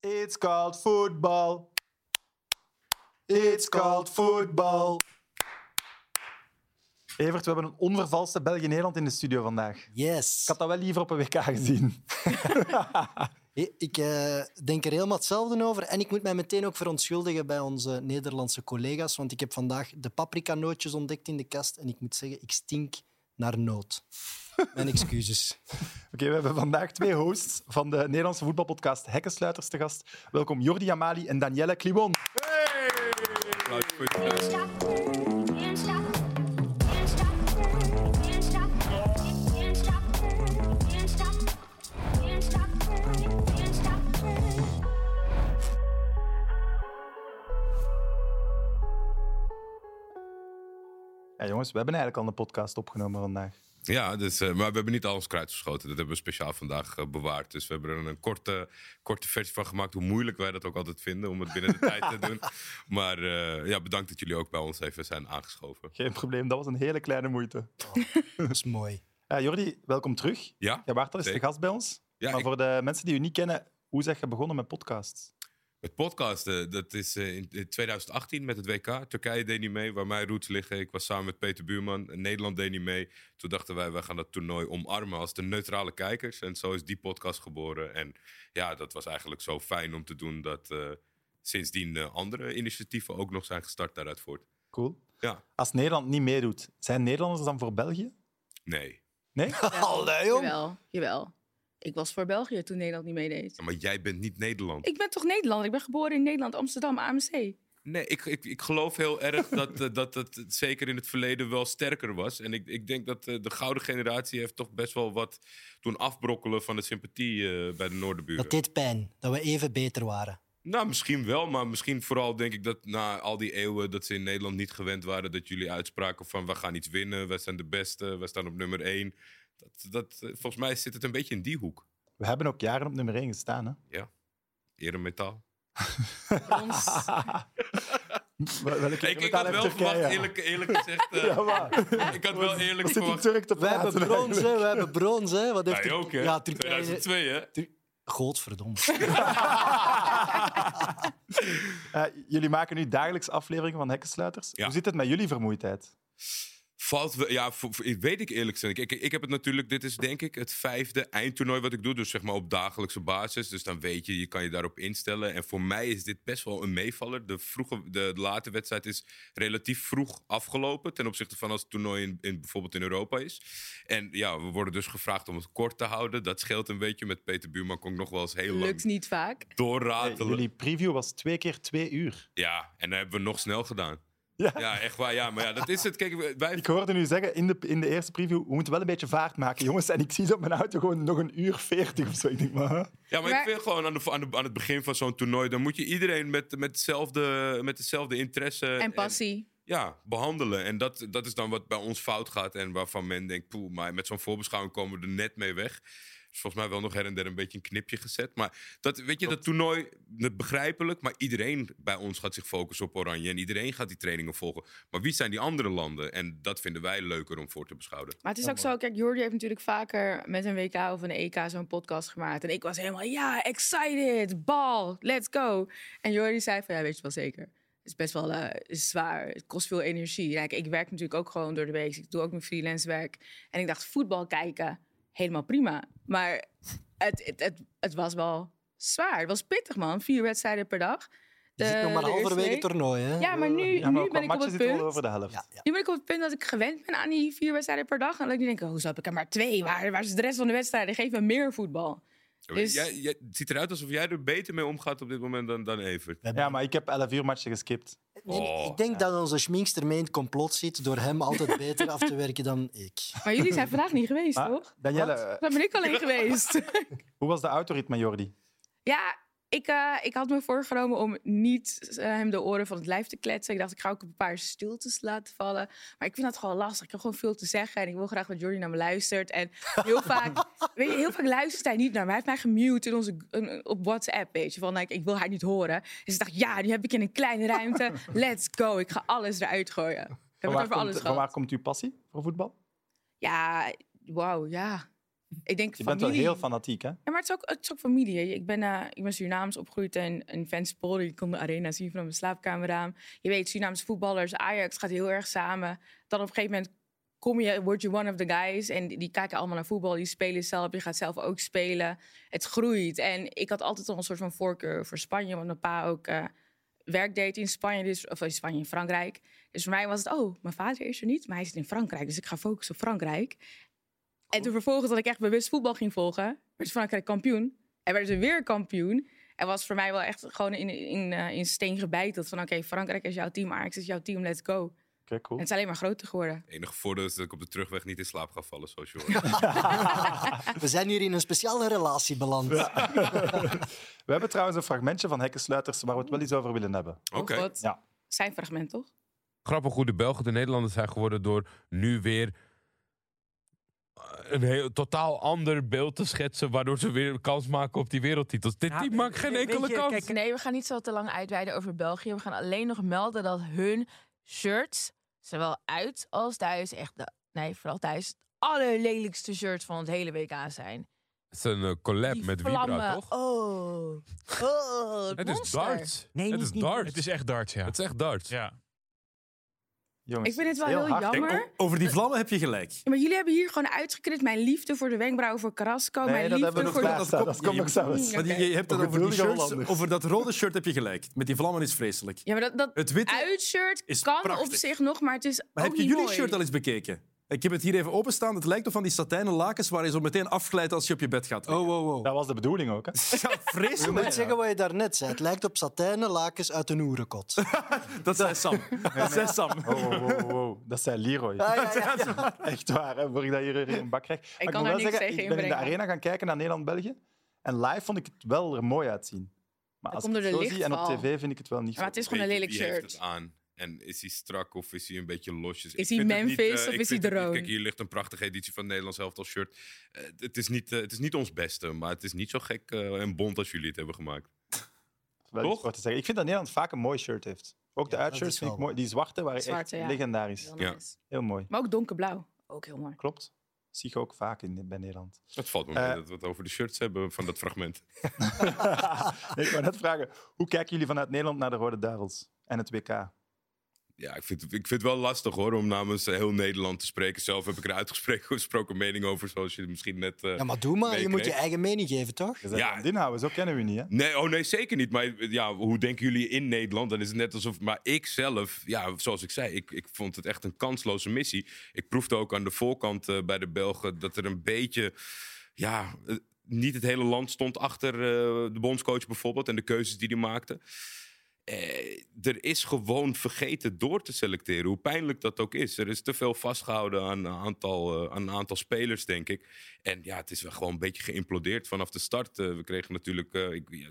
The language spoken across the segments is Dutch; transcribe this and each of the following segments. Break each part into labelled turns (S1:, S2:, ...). S1: It's called football. It's called football. Evert, we hebben een onvervalste België-Nederland in de studio vandaag. Ik
S2: Yes.
S1: had dat wel liever op een WK gezien.
S2: Ik ik, eh, denk er helemaal hetzelfde over. En ik moet mij meteen ook verontschuldigen bij onze Nederlandse collega's, want ik heb vandaag de paprikanootjes ontdekt in de kast en ik moet zeggen, ik stink naar noot. Mijn excuses.
S1: Oké, we hebben vandaag twee hosts van de Nederlandse voetbalpodcast Hekkensluiters te gast. Welkom Jordi Amali en Danielle Kliwon.
S3: Applaus voor het applaus.
S4: Can't stop, can't stop, can't stop, can't stop, can't stop, can't stop, can't stop, can't stop.
S1: Ja, jongens, we hebben eigenlijk al een podcast opgenomen vandaag.
S3: Ja, dus, eh, maar we hebben niet alles kruid geschoten. Dat hebben we speciaal vandaag eh, bewaard. Dus we hebben er een korte, korte versie van gemaakt. Hoe moeilijk wij dat ook altijd vinden om het binnen de tijd te doen. Maar eh, ja, bedankt dat jullie ook bij ons even zijn aangeschoven.
S1: Geen probleem, dat was een hele kleine moeite.
S2: Dat is mooi.
S1: Ja, Jordi, welkom terug.
S3: Ja?
S1: Jij waart al eens de
S3: Zeker.
S1: gast bij ons.
S3: Ja,
S1: maar
S3: ik-
S1: voor de mensen die u niet kennen, hoe zeg je begonnen met podcasts?
S3: Het podcasten, dat is eh, in in 2018 met het WK. Turkije deed niet mee, waar mijn roots liggen. Ik was samen met Peter Buurman. Nederland deed niet mee. Toen dachten wij, wij gaan dat toernooi omarmen als de neutrale kijkers. En zo is die podcast geboren. En ja, dat was eigenlijk zo fijn om te doen dat eh, sindsdien eh, andere initiatieven ook nog zijn gestart daaruit voort.
S1: Cool.
S3: Ja.
S1: Als Nederland niet meedoet, zijn Nederlanders dan voor België?
S3: Nee,
S1: Nee?
S2: Allee, jong.
S5: Jawel, jawel. Ik was voor België toen Nederland niet meedeed.
S3: Ja, maar jij bent niet Nederland.
S5: Ik ben toch Nederlander? Ik ben geboren in Nederland, Amsterdam, AMC.
S3: Nee, ik, ik, ik geloof heel erg dat, eh, dat dat het zeker in het verleden wel sterker was. En ik, ik denk dat eh, de gouden generatie heeft toch best wel wat toen afbrokkelen van de sympathie eh, bij de Noorderburen.
S2: Dat deed pijn, dat we even beter waren.
S3: Nou, misschien wel, maar misschien vooral denk ik dat na al die eeuwen dat ze in Nederland niet gewend waren dat jullie uitspraken van we gaan iets winnen, wij zijn de beste, wij staan op nummer één. Dat, dat, eh, volgens mij zit het een beetje in die hoek.
S1: We hebben ook jaren op nummer 1 gestaan. Hè?
S3: Eremetaal.
S5: Ons.
S1: Wel- Welke
S3: Ik, ik
S1: metaal
S3: had
S1: heeft
S3: wel
S1: Turkije?
S3: verwacht, eerlijk, eerlijk gezegd. eh,
S1: Ja, maar.
S3: ik had wel eerlijk
S1: Wat zit die
S3: verwacht.
S1: Turk te
S2: We hebben
S1: praten?
S2: brons,
S1: eigenlijk?
S2: hè. We hebben brons, hè. Wat heeft
S3: Wij
S2: Turk-
S3: ook, hè?
S2: Ja, Turkije...
S3: 2002, hè?
S2: Godverdomme.
S1: Eh, jullie maken nu dagelijks afleveringen van Hekkensluiters.
S3: Ja.
S1: Hoe zit het met jullie vermoeidheid?
S3: Valt wel, ja, voor- voor- ik weet ik eerlijk gezegd. Ik, ik, ik heb het natuurlijk, dit is denk ik het vijfde eindtoernooi wat ik doe. Dus zeg maar op dagelijkse basis. Dus dan weet je, je kan je daarop instellen. En voor mij is dit best wel een meevaller. De, vroege, de late wedstrijd is relatief vroeg afgelopen. Ten opzichte van als het toernooi in, in, bijvoorbeeld in Europa is. En ja, we worden dus gevraagd om het kort te houden. Dat scheelt een beetje. Met Peter Buurman kon ik nog wel eens heel
S5: Lukt
S3: lang
S5: niet vaak.
S3: doorratelen.
S1: Jullie preview was twee keer twee uur.
S3: Ja, en dat hebben we nog snel gedaan.
S1: Ja.
S3: Ja, echt waar. Ja, maar ja, dat is het. Kijk, wij
S1: Ik hoorde nu zeggen in de, in de eerste preview, we moeten wel een beetje vaart maken, jongens. En ik zie dat mijn auto gewoon nog een uur veertig of zo. Ik denk, maar, hè?
S3: Ja, maar,
S5: Maar-
S3: ik vind gewoon aan, de, aan, de- aan het begin van zo'n toernooi... dan moet je iedereen met, met, hetzelfde, met dezelfde interesse...
S5: En passie.
S3: ja, behandelen. En dat, dat is dan wat bij ons fout gaat... en waarvan men denkt, poeh, maar met zo'n voorbeschouwing komen we er net mee weg. Dus volgens mij wel nog her en der een beetje een knipje gezet. Maar dat, weet je, dat toernooi, dat begrijpelijk... maar iedereen bij ons gaat zich focussen op Oranje... en iedereen gaat die trainingen volgen. Maar wie zijn die andere landen? En dat vinden wij leuker om voor te beschouwen.
S5: Maar het is ook zo, kijk, Jordi heeft natuurlijk vaker met een WK of een EK zo'n podcast gemaakt. En ik was helemaal, ja, excited, bal, let's go. En Jordi zei van, ja, weet je wel zeker. Het is best wel eh, is zwaar, het kost veel energie. Ja, ik, ik werk natuurlijk ook gewoon door de week, ik doe ook mijn freelance werk. En ik dacht, voetbal kijken, helemaal prima. Maar het, het, het, het was wel zwaar, het was pittig man, vier wedstrijden per dag.
S2: Je
S5: Eh,
S2: zit nog maar
S5: de eerste
S2: halverwege het
S5: week.
S2: toernooi, hè.
S5: Ja, maar nu,
S1: Ja, maar
S5: nu
S1: qua
S5: ben ik op
S1: matchen
S5: het
S1: zitten we
S5: punt...
S1: al over de helft.
S2: Ja, ja.
S5: Nu ben ik op het punt dat ik gewend ben aan die vier wedstrijden per dag. En dat ik nu denk, hoezo heb ik er maar twee? Waar, waar is de rest van de wedstrijden? Geef me meer voetbal.
S3: Ja,
S5: Dus-
S3: jij, jij- het ziet eruit alsof jij er beter mee omgaat op dit moment dan, dan Evert.
S2: We hebben
S1: Ja, maar ik heb 11 uur matchen geskipt.
S2: Nee, nee,
S3: Oh,
S2: ik denk dat onze schminkster mee in het complot zit door hem altijd beter af te werken dan ik.
S5: Maar jullie zijn vandaag niet geweest,
S1: Maar,
S5: toch?
S1: Danielle,
S2: Wat?
S1: eh,
S5: Dan ben ik alleen geweest.
S1: hoe was de autoritme, Jordi?
S5: ja, ik, eh, ik had me voorgenomen om niet eh, hem de oren van het lijf te kletsen. Ik dacht, ik ga ook een paar stiltes laten vallen. Maar ik vind dat gewoon lastig. Ik heb gewoon veel te zeggen. En ik wil graag dat Jordi naar me luistert. En heel vaak, weet je, heel vaak luistert hij niet naar me. Hij heeft mij gemute in onze, in- op WhatsApp, weet je. Van, like, ik wil haar niet horen. Dus ik dacht, ja, die heb ik in een kleine ruimte. Let's go. Ik ga alles eruit gooien. Ik heb het
S1: waar
S5: over alles
S1: komt, van waar
S5: gehad.
S1: komt uw passie voor voetbal?
S5: Ja, wauw, ja. Ik denk
S1: Je bent
S5: familie.
S1: wel heel fanatiek, hè?
S5: Ja, maar het is ook, het is ook familie. hè. Ik ben, eh, ik ben Surinaams opgegroeid in een fanspol. Je kon de arena zien van mijn slaapkamerraam. Je weet, Surinaamse voetballers, Ajax gaat heel erg samen. Dan op een gegeven moment kom je, word je one of the guys. En die, die kijken allemaal naar voetbal, die spelen zelf. Je gaat zelf ook spelen. Het groeit. En ik had altijd al een soort van voorkeur voor Spanje. Want mijn pa ook eh, werk deed in Spanje, dus, of in Spanje, in Frankrijk. Dus voor mij was het, oh, mijn vader is er niet, maar hij zit in Frankrijk. Dus ik ga focussen op Frankrijk. En toen vervolgens dat ik echt bewust voetbal ging volgen, werd Frankrijk kampioen. En werden ze weer kampioen. En was voor mij wel echt gewoon in, in, eh, in steen gebeiteld. Van oké, Frankrijk is jouw team, Ajax is jouw team, let's go.
S1: Oké,
S5: En
S1: cool.
S5: het is alleen maar groter geworden.
S3: Enige voordeel is dat ik op de terugweg niet in slaap ga vallen, zoals je hoort.
S2: We zijn hier in een speciale relatie beland.
S1: We hebben trouwens een fragmentje van Hekkensluiters waar we het wel eens over willen hebben.
S5: Oh
S3: Oké.
S5: God.
S1: Ja.
S5: Zijn fragment, toch?
S6: grappig hoe de Belgen de Nederlanders zijn geworden door nu weer eh, een heel, totaal ander beeld te schetsen, waardoor ze weer kans maken op die wereldtitels. Dit
S7: Ja,
S6: team maakt geen
S7: weet
S6: enkele
S7: je,
S6: kans.
S7: kijk,
S8: Nee, we gaan niet zo te lang uitweiden over België. We gaan alleen nog melden dat hun shirts, zowel uit als thuis, echt de, nee, vooral thuis, het allerlelijkste shirts van het hele WK zijn.
S6: Het is een eh, collab
S8: Die
S6: met Vibra,
S8: vlammen.
S6: toch?
S8: Oh, oh het,
S6: het is
S8: monster.
S6: darts.
S7: Nee,
S6: het
S7: niet-
S6: is
S7: niet-
S6: darts.
S9: Het is echt darts, ja.
S6: Het is echt darts.
S9: ja.
S1: Jongens,
S5: Ik vind het wel heel
S1: hard.
S5: jammer.
S9: Kijk, o- over die vlammen heb je gelijk.
S5: Ja, maar jullie hebben hier gewoon uitgeknipt mijn liefde voor de wenkbrauwen voor Carrasco.
S1: Nee,
S5: Oh, mijn
S1: dat
S5: liefde
S1: hebben we nog
S5: voor de-
S1: laatst. Dat komt nog zelfs.
S5: Ja.
S9: Want je, je hebt het over die
S1: Ongeduldige
S9: shirts,
S1: Hollanders.
S9: over dat rode shirt heb je gelijk. Met die vlammen is vreselijk.
S5: Ja, maar dat, dat
S9: Het witte
S5: uitshirt
S9: is
S5: kan op
S9: prachtig.
S5: zich nog, maar het is
S9: Maar
S5: ook
S9: heb je
S5: niet
S9: jullie
S5: mooi.
S9: shirt al eens bekeken? Ik heb het hier even openstaan. Het lijkt op van die satijnen lakens waar je zo meteen afglijdt als je op je bed gaat.
S7: Oh, wow, wow.
S1: Dat was de bedoeling ook, hè?
S9: Ja,
S2: Je moet
S9: vreselijk.
S2: zeggen wat je daarnet zei. Het lijkt op satijnen lakens uit een oerenkot.
S9: Dat zei Sam. Dat zei Sam.
S1: Wow, Oh, wow, wow, wow, wow. Dat zei Leroy.
S2: Ah, ja, ja, ja.
S1: Echt waar, hè? Voor ik dat hier in mijn bak krijg. Maar
S5: kan
S1: moet
S5: daar
S1: wel
S5: niks
S1: zeggen,
S5: tegen
S1: Ik ben in de
S5: inbrengen.
S1: arena gaan kijken naar Nederland-België. En live vond ik het wel er mooi uitzien. Maar als ik
S5: komt
S1: het
S5: door
S1: zo
S5: de
S1: zie en op
S5: lichtval.
S1: tv vind ik het wel niet
S5: Maar het is gewoon een
S3: Weet je,
S5: lelijk
S3: wie heeft
S5: shirt.
S3: het aan? En is hij strak of is hij een beetje losjes?
S5: Is
S3: Ik
S5: hij
S3: vind het
S5: Memphis
S3: eh,
S5: of
S3: ik
S5: is hij
S3: vind het niet-
S5: Drone?
S3: Kijk, hier ligt een prachtige editie van het Nederlands Elftal shirt. Eh, het, is niet, eh, het is niet ons beste, maar het is niet zo gek eh, en bont als jullie het hebben gemaakt.
S1: wel
S3: Toch?
S1: iets voor te zeggen. Ik vind dat Nederland vaak een mooi shirt heeft. Ook de
S2: Ja, dat
S1: uitshirts
S2: is
S1: vind ik
S2: wel
S1: mooi. Die zwarte waren
S5: Zwarte,
S1: echt
S5: ja.
S1: legendarisch.
S5: Heel
S3: Ja.
S5: nice.
S1: Heel mooi.
S5: Maar ook donkerblauw. Ook heel mooi.
S1: Klopt. Zie ik ook vaak in, bij Nederland.
S3: Het valt me
S1: Eh.
S3: mee dat we het over de shirts hebben van dat fragment.
S1: Nee, ik wou net vragen, hoe kijken jullie vanuit Nederland naar de Rode Duivels en het WK?
S3: Ja, ik vind, ik vind het wel lastig hoor, om namens eh, heel Nederland te spreken. Zelf heb ik er uitgesproken gesproken mening over, zoals je misschien net... eh,
S2: Ja, maar doe maar.
S3: Nee,
S2: Je moet je
S3: nee.
S2: eigen mening geven, toch?
S1: Je bent
S3: Ja.
S1: aan het inhouden, zo kennen we je niet. Hè?
S3: Nee, oh nee, zeker niet. Maar eh, ja, hoe denken jullie in Nederland? Dan is het net alsof. Maar ik zelf, ja, zoals ik zei, ik, ik vond het echt een kansloze missie. Ik proefde ook aan de voorkant eh, bij de Belgen dat er een beetje. Ja, eh, niet het hele land stond achter eh, de bondscoach bijvoorbeeld en de keuzes die hij maakte. Eh, er is gewoon vergeten door te selecteren, hoe pijnlijk dat ook is. Er is te veel vastgehouden aan een aantal, eh, aan een aantal spelers, denk ik. En ja, het is wel gewoon een beetje geïmplodeerd vanaf de start. Eh, we kregen natuurlijk eh, ik, ja,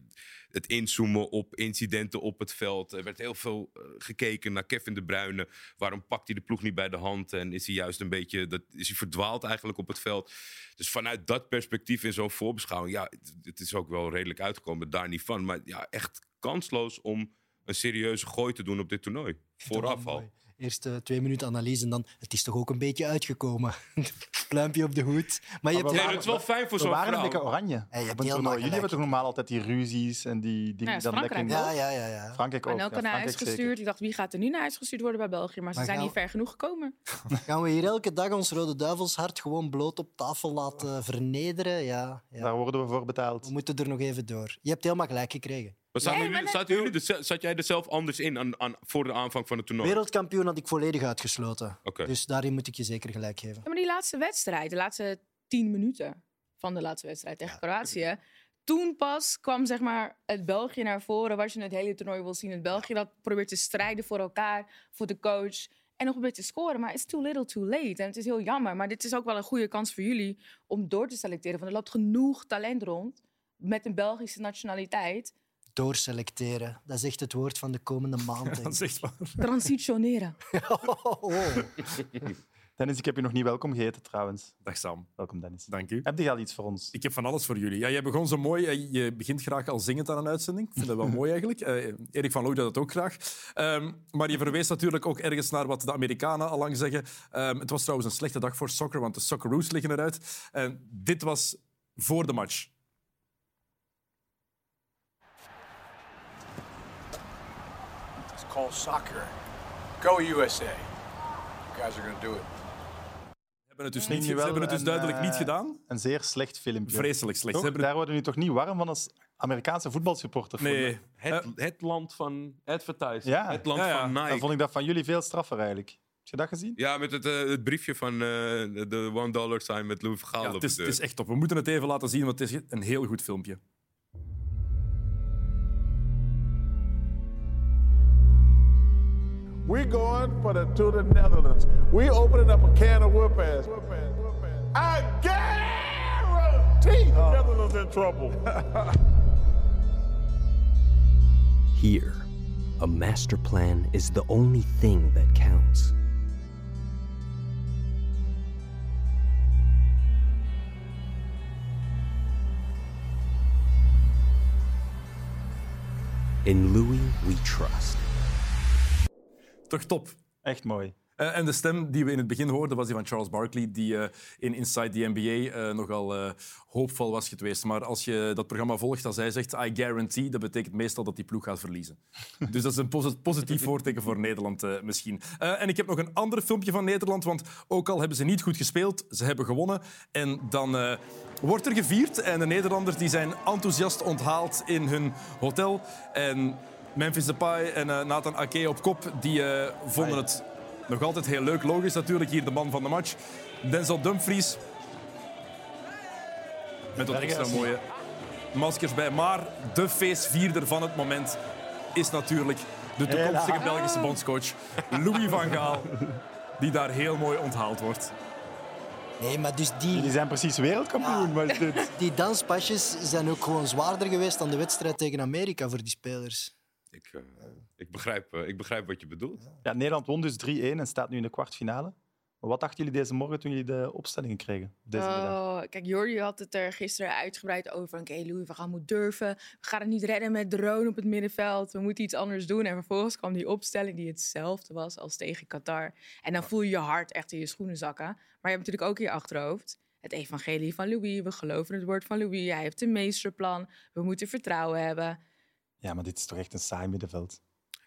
S3: het inzoomen op incidenten op het veld. Er werd heel veel eh, gekeken naar Kevin De Bruyne. Waarom pakt hij de ploeg niet bij de hand? En is hij juist een beetje, dat, is hij verdwaald eigenlijk op het veld? Dus vanuit dat perspectief in zo'n voorbeschouwing, ja, het, het is ook wel redelijk uitgekomen, daar niet van. Maar ja, echt kansloos om een serieuze gooi te doen op dit toernooi. Vooraf al.
S2: Eerst eh, twee minuten analyse en dan... Het is toch ook een beetje uitgekomen. Pluimpje op de hoed. Maar je
S1: Maar
S2: hebt,
S1: we
S3: Nee,
S1: waren-
S3: dat is wel fijn voor
S1: We
S3: zo'n
S1: waren een
S3: vrouw.
S1: dikke oranje.
S2: Ja, je
S1: op een
S2: hebt helemaal
S1: toernooi. Jullie
S2: gelijk.
S1: hebben toch normaal altijd die ruzies en die
S5: Ja,
S1: dingen
S5: is
S1: die dan lekker in
S5: Frankrijk
S2: ja, ja, ja, ja.
S1: Frankrijk ook.
S5: En ook
S1: ja,
S5: al naar
S1: Frankrijk
S5: huis gestuurd.
S1: zeker.
S5: Ik dacht, wie gaat er nu naar huis gestuurd worden bij België? Maar ze
S2: Maar
S5: zijn
S2: gaan-
S5: niet ver genoeg gekomen.
S2: Gaan we hier elke dag ons Rode Duivels hart gewoon bloot op tafel laten vernederen? Ja, ja.
S1: Daar worden we voor
S2: We
S1: betaald.
S2: moeten er nog even door. Je hebt helemaal gelijk gekregen.
S3: Maar zaten
S5: Nee,
S3: jullie,
S5: maar
S3: zaten jullie er ze- zat jij er zelf anders in aan, aan, voor de aanvang van het toernooi?
S2: Wereldkampioen had ik volledig uitgesloten.
S3: Oké.
S2: Dus daarin moet ik je zeker gelijk geven.
S5: Ja, maar die laatste wedstrijd, de laatste tien minuten van de laatste wedstrijd tegen Kroatië. Toen pas kwam zeg maar, het België naar voren, waar je het hele toernooi wil zien. Het België dat probeert te strijden voor elkaar, voor de coach. En nog een beetje scoren, maar it's too little too late. En het is heel jammer, maar dit is ook wel een goede kans voor jullie om door te selecteren. Want er loopt genoeg talent rond met een Belgische nationaliteit.
S2: Doorselecteren. Dat is echt het woord van de komende maand. denk
S9: Dat
S2: ik.
S9: is echt waar.
S5: Transitioneren.
S2: Oh, oh, oh.
S1: Dennis, ik heb je nog niet welkom geheten trouwens.
S9: Dag Sam,
S1: Welkom, Dennis.
S9: dank u.
S1: Heb je al iets voor ons?
S9: Ik heb van alles voor jullie. Ja, jij begon zo mooi. eh, Je begint graag al zingend aan een uitzending. Ik vind dat wel mooi eigenlijk. Eh, Erik van Looy doet dat ook graag. Ehm, maar je verwees natuurlijk ook ergens naar wat de Amerikanen allang zeggen. Ehm, het was trouwens een slechte dag voor soccer, want de Socceroos liggen eruit. En dit was voor de match.
S7: It's called soccer. Go USA. You guys are going to do it.
S9: Ze hebben het dus,
S1: Vind
S9: niet,
S1: je
S9: ze
S1: wel
S9: hebben het dus
S1: een,
S9: duidelijk niet
S1: eh,
S9: gedaan.
S1: Een zeer slecht filmpje.
S9: Vreselijk slecht.
S1: Toch?
S9: Ze hebben het-
S1: Daar worden we nu toch niet warm van als Amerikaanse voetbalsupporter?
S9: Nee. Eh,
S6: Het, het land van advertising.
S1: Ja.
S6: Het land
S9: Ja, ja.
S6: van
S1: Dan
S6: Nike.
S1: vond ik dat van jullie veel straffer eigenlijk. Heb je dat gezien?
S3: Ja, met het, eh, het briefje van eh, de one dollar sign met Louis Vergaal
S9: Ja,
S3: op
S9: het,
S3: de
S9: is,
S3: deur.
S9: het is echt top. We moeten het even laten zien, want het is een heel goed filmpje.
S7: We're going for the, to the Netherlands. We're opening up a can of whoop ass. I guarantee the Netherlands in trouble.
S10: Here, a master plan is the only thing that counts. In Louis, we trust.
S9: Toch top.
S1: Echt mooi.
S9: Eh, en de stem die we in het begin hoorden was die van Charles Barkley, die eh, in Inside the NBA eh, nogal eh, hoopvol was geweest. Maar als je dat programma volgt, als hij zegt I guarantee, dat betekent meestal dat die ploeg gaat verliezen. dus dat is een posi- positief voorteken voor Nederland eh, misschien. Eh, en ik heb nog een ander filmpje van Nederland, want ook al hebben ze niet goed gespeeld, ze hebben gewonnen. En dan eh, wordt er gevierd en de Nederlanders die zijn enthousiast onthaald in hun hotel. En Memphis Depay en eh, Nathan Ake op kop, die eh, vonden het... Nog altijd heel leuk, logisch natuurlijk. Hier de man van de match, Denzel Dumfries. Met dat extra mooie maskers bij. Maar de feestvierder van het moment is natuurlijk de toekomstige Belgische bondscoach Louis van Gaal. Die daar heel mooi onthaald wordt.
S2: Nee, maar dus die,
S1: Jullie zijn precies wereldkampioen. Wat is dit?
S2: die danspasjes zijn ook gewoon zwaarder geweest dan de wedstrijd tegen Amerika voor die spelers.
S3: Ik, eh, ik, begrijp, eh, ik begrijp wat je bedoelt.
S1: Ja, Nederland won dus 3-1 en staat nu in de kwartfinale. Maar wat dachten jullie deze morgen toen jullie de opstellingen kregen? Deze middag?
S5: Oh, kijk, Jordi had het er gisteren uitgebreid over. Oké, Louis, we gaan moeten durven. We gaan het niet redden met drone op het middenveld. We moeten iets anders doen. En vervolgens kwam die opstelling die hetzelfde was als tegen Qatar. En dan voel je je hart echt in je schoenen zakken. Maar je hebt natuurlijk ook in je achterhoofd het evangelie van Louis. We geloven het woord van Louis. Hij heeft een meesterplan. We moeten vertrouwen hebben.
S1: Ja, maar dit is toch echt een saai middenveld.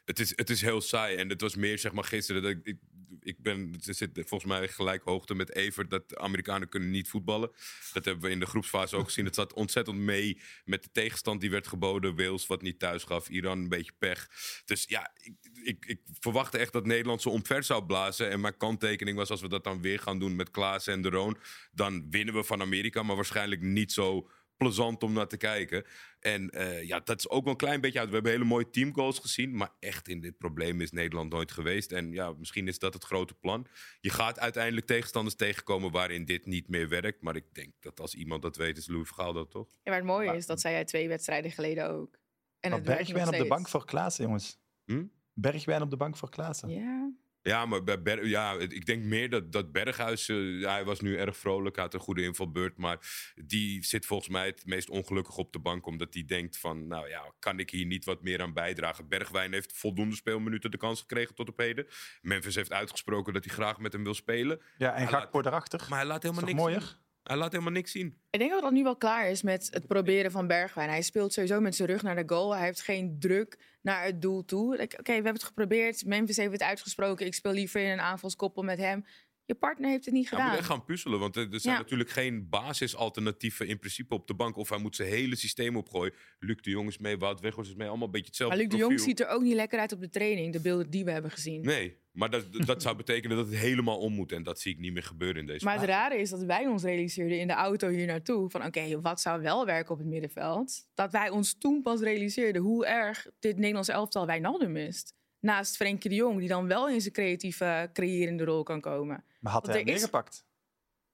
S3: Het is, het is heel saai. En het was meer, zeg maar, gisteren. Dat ik, ik, ik ben, ze zit volgens mij gelijk hoogte met Evert. Dat de Amerikanen kunnen niet voetballen. Dat hebben we in de groepsfase ook gezien. Het zat ontzettend mee met de tegenstand die werd geboden. Wales wat niet thuis gaf. Iran een beetje pech. Dus ja, ik, ik, ik verwachtte echt dat Nederland zo omver zou blazen. En mijn kanttekening was, als we dat dan weer gaan doen met Klaassen en De Roon... dan winnen we van Amerika, maar waarschijnlijk niet zo plezant om naar te kijken. En eh, ja, dat is ook wel een klein beetje uit. We hebben hele mooie teamgoals gezien, maar echt in dit probleem is Nederland nooit geweest. En ja, misschien is dat het grote plan. Je gaat uiteindelijk tegenstanders tegenkomen waarin dit niet meer werkt. Maar ik denk dat als iemand dat weet, is Louis Vergaal dat toch?
S5: En maar het mooie is, dat zei jij twee wedstrijden geleden ook. En
S1: Maar
S5: het werkt nog
S1: Bergwijn op de
S5: steeds.
S1: bank voor Klaassen, jongens.
S3: Hm?
S1: Bergwijn op de bank voor Klaassen.
S5: Ja,
S3: Ja, maar bij Ber- ja, het- ik denk meer dat, dat Berghuis... eh, ja, hij was nu erg vrolijk, hij had een goede invalbeurt. Maar die zit volgens mij het meest ongelukkig op de bank. Omdat hij denkt van, nou ja, kan ik hier niet wat meer aan bijdragen? Bergwijn heeft voldoende speelminuten de kans gekregen tot op heden. Memphis heeft uitgesproken dat hij graag met hem wil spelen.
S1: Ja, en
S3: Hij
S1: Gakpo erachter.
S3: Maar hij laat
S1: is
S3: helemaal
S1: toch
S3: niks
S1: mooier?
S3: zien. Hij laat helemaal niks zien.
S5: Ik denk dat dat nu wel klaar is met het proberen van Bergwijn. Hij speelt sowieso met zijn rug naar de goal. Hij heeft geen druk naar het doel toe. Like, Oké, we hebben het geprobeerd. Memphis heeft het uitgesproken. Ik speel liever in een aanvalskoppel met hem. Je partner heeft het niet
S3: Hij moet
S5: gedaan.
S3: echt gaan puzzelen, want er er zijn
S5: Ja.
S3: natuurlijk geen basisalternatieven in principe op de bank. Of hij moet zijn hele systeem opgooien. Luc de Jong is mee, Wout Weghorst is mee, allemaal een beetje hetzelfde
S5: Maar Luc de
S3: profiel.
S5: Jong ziet er ook niet lekker uit op de training. De beelden die we hebben gezien.
S3: Nee, maar dat, dat zou betekenen dat het helemaal om moet. En dat zie ik niet meer gebeuren in deze
S5: Maar het rare is dat wij ons realiseerden in de auto hier naartoe. Van oké, wat zou wel werken op het middenveld? Dat wij ons toen pas realiseerden hoe erg dit Nederlandse elftal Wijnaldum mist. Naast Frenkie de Jong, die dan wel in zijn creatieve, creërende rol kan komen.
S1: Maar had
S5: Want
S1: hij
S5: er
S1: hem
S5: is-
S1: meegepakt?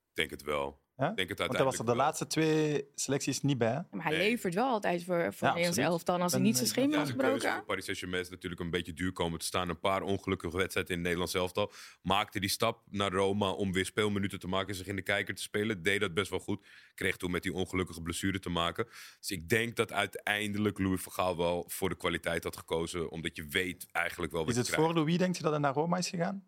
S3: Ik denk het wel.
S1: Ja?
S3: Ik denk het
S1: Want hij was
S3: uiteindelijk
S1: er de
S3: wel.
S1: laatste twee selecties niet bij. hè?
S5: Maar hij
S3: Nee.
S5: levert wel altijd voor, voor het Nederlands
S1: absoluut.
S5: elftal. En Als hij
S1: Ben-
S5: niet zijn schema
S3: Ja,
S5: had
S3: de keuze
S5: gebroken...
S3: voor Paris Saint-Germain is natuurlijk een beetje duur komen te staan. Een paar ongelukkige wedstrijden in het Nederlands elftal. Maakte die stap naar Roma om weer speelminuten te maken. en Zich in de kijker te spelen. Deed dat best wel goed. Kreeg toen met die ongelukkige blessure te maken. Dus ik denk dat uiteindelijk Louis van Gaal wel voor de kwaliteit had gekozen. Omdat je weet eigenlijk wel wat
S1: Is
S3: je
S1: het
S3: krijgt.
S1: voor Louis, denk je, dat hij naar Roma is gegaan?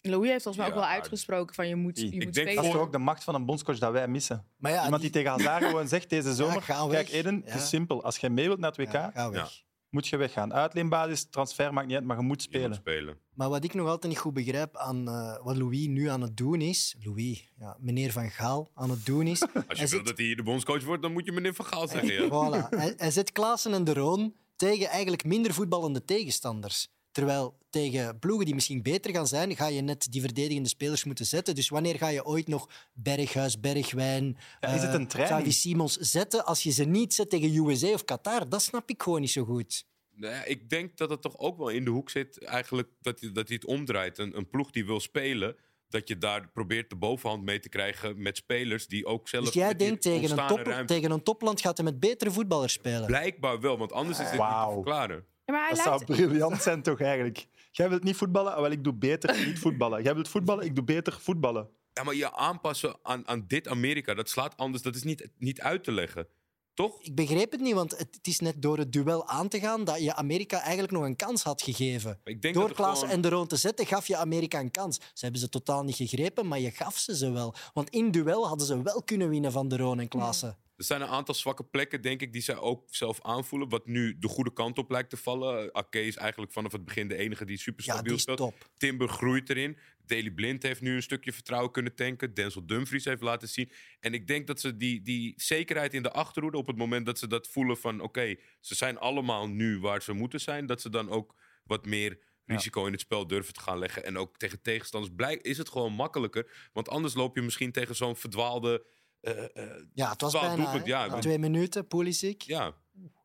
S5: Louis heeft volgens mij ook
S3: Ja,
S5: wel uitgesproken van je moet, je
S3: Ik
S5: moet
S3: denk
S1: Dat is
S5: spelen.
S1: toch ook de macht van een bondscoach dat wij missen.
S2: Maar ja,
S1: Iemand die, tegen Hazard gewoon zegt deze zomer,
S2: ga weg.
S1: kijk Eden, het
S2: Ja.
S1: is simpel. Als jij mee wilt naar het WK,
S2: Ja, ga weg.
S1: moet je weggaan. Uitleenbasis, transfer maakt niet uit, maar je moet
S3: Je moet
S1: spelen.
S3: spelen.
S2: Maar wat ik nog altijd niet goed begrijp aan eh, wat Louis nu aan het doen is... Louis, ja, meneer Van Gaal aan het doen is...
S3: Als je
S2: hij
S3: wil
S2: zit-
S3: dat hij hier de bondscoach wordt, dan moet je meneer Van Gaal zeggen. Ja.
S2: Voilà. Hij, hij zet Klaassen en De Roon tegen eigenlijk minder voetballende tegenstanders. Terwijl tegen ploegen die misschien beter gaan zijn, ga je net die verdedigende spelers moeten zetten. Dus wanneer ga je ooit nog Berghuis, Bergwijn,
S1: Ja, is het een
S2: eh,
S1: training?
S2: Xavi Simons zetten als je ze niet zet tegen USA of Qatar? Dat snap ik gewoon niet zo goed. Dus
S3: Nou ja, ik denk dat het toch ook wel in de hoek zit, eigenlijk dat hij, dat hij het omdraait. Een, een ploeg die wil spelen, dat je daar probeert de bovenhand mee te krijgen met spelers die ook zelf.
S2: Dus jij
S3: met die
S2: denkt tegen een,
S3: ontstane
S2: top,
S3: ruimte-
S2: tegen een topland gaat hij met betere voetballers spelen.
S3: Blijkbaar wel, want anders is dit niet
S1: Wauw.
S3: te verklaren.
S5: Ja, maar hij
S1: Dat
S5: lijkt,
S1: zou briljant zijn toch eigenlijk? Jij wilt niet voetballen, ah, wel ik doe beter niet voetballen. Jij wilt voetballen, ik doe beter voetballen.
S3: Ja, maar je aanpassen aan, aan dit Amerika, dat slaat anders, dat is niet, niet uit te leggen. Toch?
S2: Ik begreep het niet, want het het is net door het duel aan te gaan dat je Amerika eigenlijk nog een kans had gegeven.
S3: Ik denk
S2: Door
S3: dat
S2: Klaassen
S3: en
S2: en De Roon te zetten gaf je Amerika een kans. Ze hebben ze totaal niet gegrepen, maar je gaf ze ze wel. Want in duel hadden ze wel kunnen winnen van De Roon en Klaassen.
S3: Er zijn een aantal zwakke plekken, denk ik, die zij ook zelf aanvoelen. Wat nu de goede kant op lijkt te vallen. Ake is eigenlijk vanaf het begin de enige die
S2: Ja,
S3: super
S2: die
S3: stabiel
S2: is
S3: speelt.
S2: top.
S3: Timber groeit erin. Daley Blind heeft nu een stukje vertrouwen kunnen tanken. Denzel Dumfries heeft laten zien. En ik denk dat ze die, die zekerheid in de achterhoede... op het moment dat ze dat voelen van... oké, ze zijn allemaal nu waar ze moeten zijn... dat ze dan ook wat meer risico in het spel durven te gaan leggen. En ook tegen tegenstanders blijk, is het gewoon makkelijker. Want anders loop je misschien tegen zo'n verdwaalde... eh, eh,
S2: Ja, het was
S3: Twaalf
S2: bijna.
S3: doelpunt,
S2: hè.
S3: ja,
S2: Na
S3: want-
S2: Twee minuten, Pulisic.
S3: ja,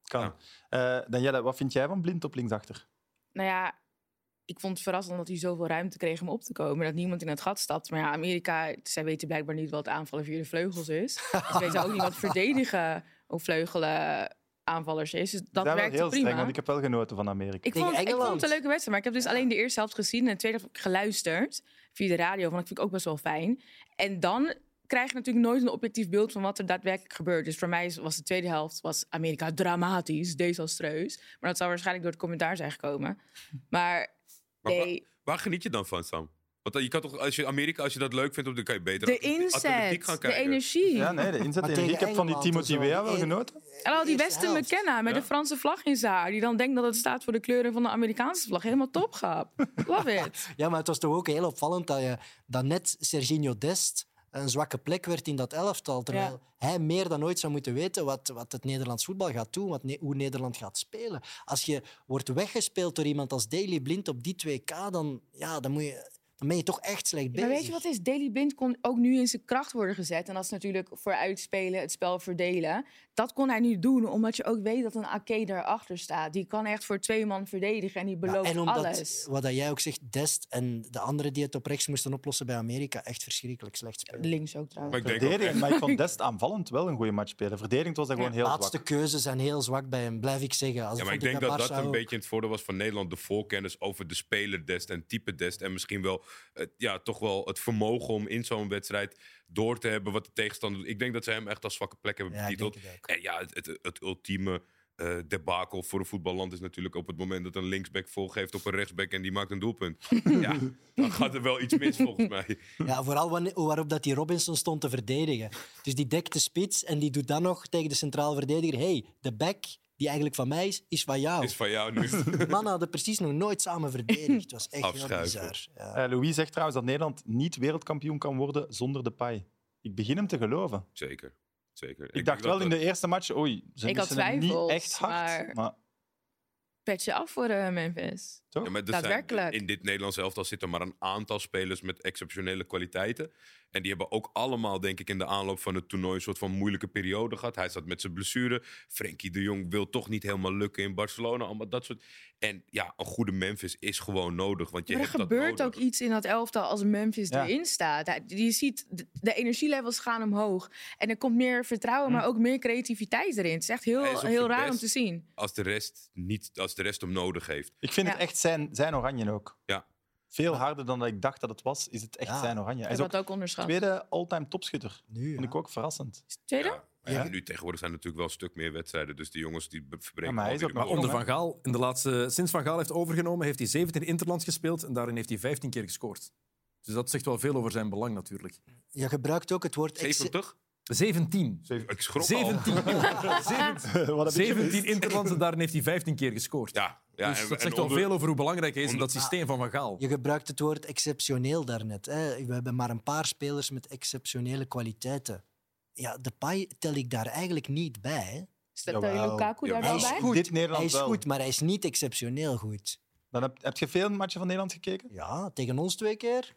S1: Kan.
S3: Ja.
S1: Eh, Danielle, wat vind jij van blind op linksachter?
S5: nou ja, ik vond het verrassend dat hij zoveel ruimte kreeg om op te komen. Dat niemand in het gat stapt. Maar ja, Amerika, zij weten blijkbaar niet wat aanvallen via de vleugels is. En ze weten ook niet wat verdedigen of vleugelen aanvallers is. Dus dat
S1: zijn wel
S5: werkte
S1: heel
S5: prima.
S1: streng, want ik heb wel genoten van Amerika.
S5: Ik
S2: Tegen
S5: vond, ik vond het
S2: Engeland.
S5: een leuke wedstrijd, maar ik heb dus alleen de eerste helft gezien en de tweede helft heb ik geluisterd via de radio. Want dat vind ik ook best wel fijn. En dan krijg je natuurlijk nooit een objectief beeld van wat er daadwerkelijk gebeurt. Dus voor mij is- was de tweede helft was Amerika dramatisch, desastreus. Maar dat zou waarschijnlijk door het commentaar zijn gekomen. Maar
S3: Maar wa-
S5: nee,
S3: Waar geniet je dan van, Sam? Want dan- je kan toch, als je Amerika, als je dat leuk vindt, dan kan je beter
S5: de
S3: atletiek- atletiek gaan
S5: inzet, de
S3: kijken.
S5: energie.
S1: Ja, nee, de inzet.
S2: Maar
S1: Enrique,
S2: tegen
S1: Ik heb van die
S2: Engeland
S1: Timothy
S2: en zo,
S1: Weah wel
S2: die-
S1: genoten.
S5: En al die
S2: Eerste
S5: Westen
S2: helft.
S5: McKenna met
S3: Ja.
S5: de Franse vlag in zijn haar... die dan denkt dat het staat voor de kleuren van de Amerikaanse vlag. Helemaal topgap. Love it.
S2: Ja, maar het was toch ook heel opvallend dat, je, dat net Serginho Dest een zwakke plek werd in dat elftal. Terwijl hij meer dan ooit zou moeten weten wat, wat het Nederlands voetbal gaat doen, wat, Ne- hoe Nederland gaat spelen. Als je wordt weggespeeld door iemand als Daily Blind op die 2K, dan, ja, dan, moet je, dan ben je toch echt slecht bezig.
S5: Maar weet je wat is? Daily Blind kon ook nu in zijn kracht worden gezet. En dat is natuurlijk voor uitspelen, het spel verdelen. Dat kon hij nu doen, omdat je ook weet dat een Ake daarachter staat. Die kan echt voor twee man verdedigen en die
S2: Ja,
S5: belooft
S2: Nou, en omdat,
S5: alles.
S2: wat dat jij ook zegt, Dest en de anderen die het op rechts moesten oplossen bij Amerika, echt verschrikkelijk slecht spelen.
S5: Links ook trouwens.
S3: Maar ik denk ook
S1: Verdediging,
S3: echt-
S1: maar ik vond Dest aanvallend wel een goede match spelen. Verdedigend was hij gewoon heel
S2: laatste
S1: zwak.
S2: keuzes zijn heel zwak bij hem, blijf ik zeggen. Als
S3: ja, maar ik
S2: vond
S3: denk
S2: bij
S3: dat dat
S2: Barca
S3: een
S2: ook.
S3: beetje het voordeel was van Nederland. De voorkennis over de speler dest en type dest. En misschien wel, het, ja, toch wel het vermogen om in zo'n wedstrijd door te hebben wat de tegenstander doet. Ik denk dat ze hem echt als zwakke plek hebben
S2: Ja, ik
S3: betiteld.
S2: denk het ook.
S3: En ja, het, het, het ultieme eh debakel voor een voetballand is natuurlijk op het moment dat een linksback volgeeft op een rechtsback en die maakt een doelpunt. ja, dan gaat er wel iets mis volgens mij.
S2: Ja, vooral wanneer- waarop dat die Robinson stond te verdedigen. Dus die dekt de spits en die doet dan nog tegen de centraal verdediger: hey, de back die eigenlijk van mij is, is van jou.
S3: Is van jou nu.
S2: De mannen hadden precies nog nooit samen verdedigd. Het was echt heel
S3: Afschuiven.
S2: bizar. Ja.
S1: Eh, Louis zegt trouwens dat Nederland niet wereldkampioen kan worden zonder de paai. Ik begin hem te geloven.
S3: Zeker. Zeker.
S1: Ik, dacht wel in de eerste match, oei, ze
S5: Ik had
S1: missen hem niet
S5: twijfels,
S1: echt hard.
S5: maar-
S1: Maar
S5: Pet je af voor eh, Memphis.
S1: Toch?
S3: Ja, maar er zijn-
S5: Daadwerkelijk.
S3: in dit Nederlands elftal zitten maar een aantal spelers met exceptionele kwaliteiten. En die hebben ook allemaal, denk ik, in de aanloop van het toernooi een soort van moeilijke periode gehad. Hij zat met zijn blessure. Frenkie de Jong wil toch niet helemaal lukken in Barcelona. Allemaal dat soort. En ja, een goede Memphis is gewoon nodig. Want je
S5: maar er
S3: hebt dat
S5: gebeurt
S3: nodig.
S5: ook iets in dat elftal als Memphis
S1: Ja.
S5: erin staat. Hij- Je ziet, de- de energielevels gaan omhoog. En er komt meer vertrouwen, maar ook meer creativiteit erin. Het is echt
S3: Hij is
S5: heel,
S3: op
S5: heel
S3: zijn
S5: raar om
S3: best.
S5: te zien.
S3: Als de rest, niet, als de rest hem nodig heeft.
S1: Ik vind
S5: Ja.
S1: het echt zijn, zijn oranje ook.
S3: Ja.
S1: Veel harder dan dat ik dacht dat het was, is het echt
S2: Ja.
S1: zijn oranje.
S5: Ik
S1: Hij
S5: heb
S1: is ook
S5: dat ook onderschat.
S1: tweede all-time topschutter.
S2: Nu,
S1: Vond
S2: ja.
S1: ik ook verrassend.
S5: Tweede?
S3: Ja. Maar ja,
S2: Ja.
S3: nu tegenwoordig zijn er natuurlijk wel een stuk meer wedstrijden. Dus die jongens die be-
S1: Ja,
S3: verbreken
S1: maar hij
S3: wel
S1: is
S3: weer
S1: ook
S3: een
S1: nog
S9: Maar onder
S1: jong,
S9: Van Gaal, in de laatste, sinds Van Gaal heeft overgenomen, heeft hij 17 interlands gespeeld en daarin heeft hij 15 keer gescoord. Dus dat zegt wel veel over zijn belang natuurlijk.
S2: Je gebruikt ook het woord... ex-
S3: 70?
S9: 17.
S3: Ik schrok al.
S9: 17,
S1: Wat heb ik gemist?
S9: 17 interlands en daarin heeft hij 15 keer gescoord.
S3: Ja, ja
S9: dus
S3: en-
S9: dat
S3: en
S9: zegt wel
S3: onder-
S9: veel over hoe belangrijk hij is in dat systeem van Van Gaal.
S2: Je gebruikt het woord exceptioneel daarnet. Hè. We hebben maar een paar spelers met exceptionele kwaliteiten. Ja, de paai tel ik daar eigenlijk niet bij. hè.
S5: Staat eh,
S1: Jawel.
S5: Lukaku daar
S3: Jawel.
S5: wel
S2: Hij
S5: bij?
S2: is goed,
S1: Dit Nederland
S2: hij is
S1: wel.
S2: goed maar hij is niet exceptioneel goed.
S1: Dan heb, heb je veel matchen van Nederland gekeken?
S2: Ja, tegen ons twee keer.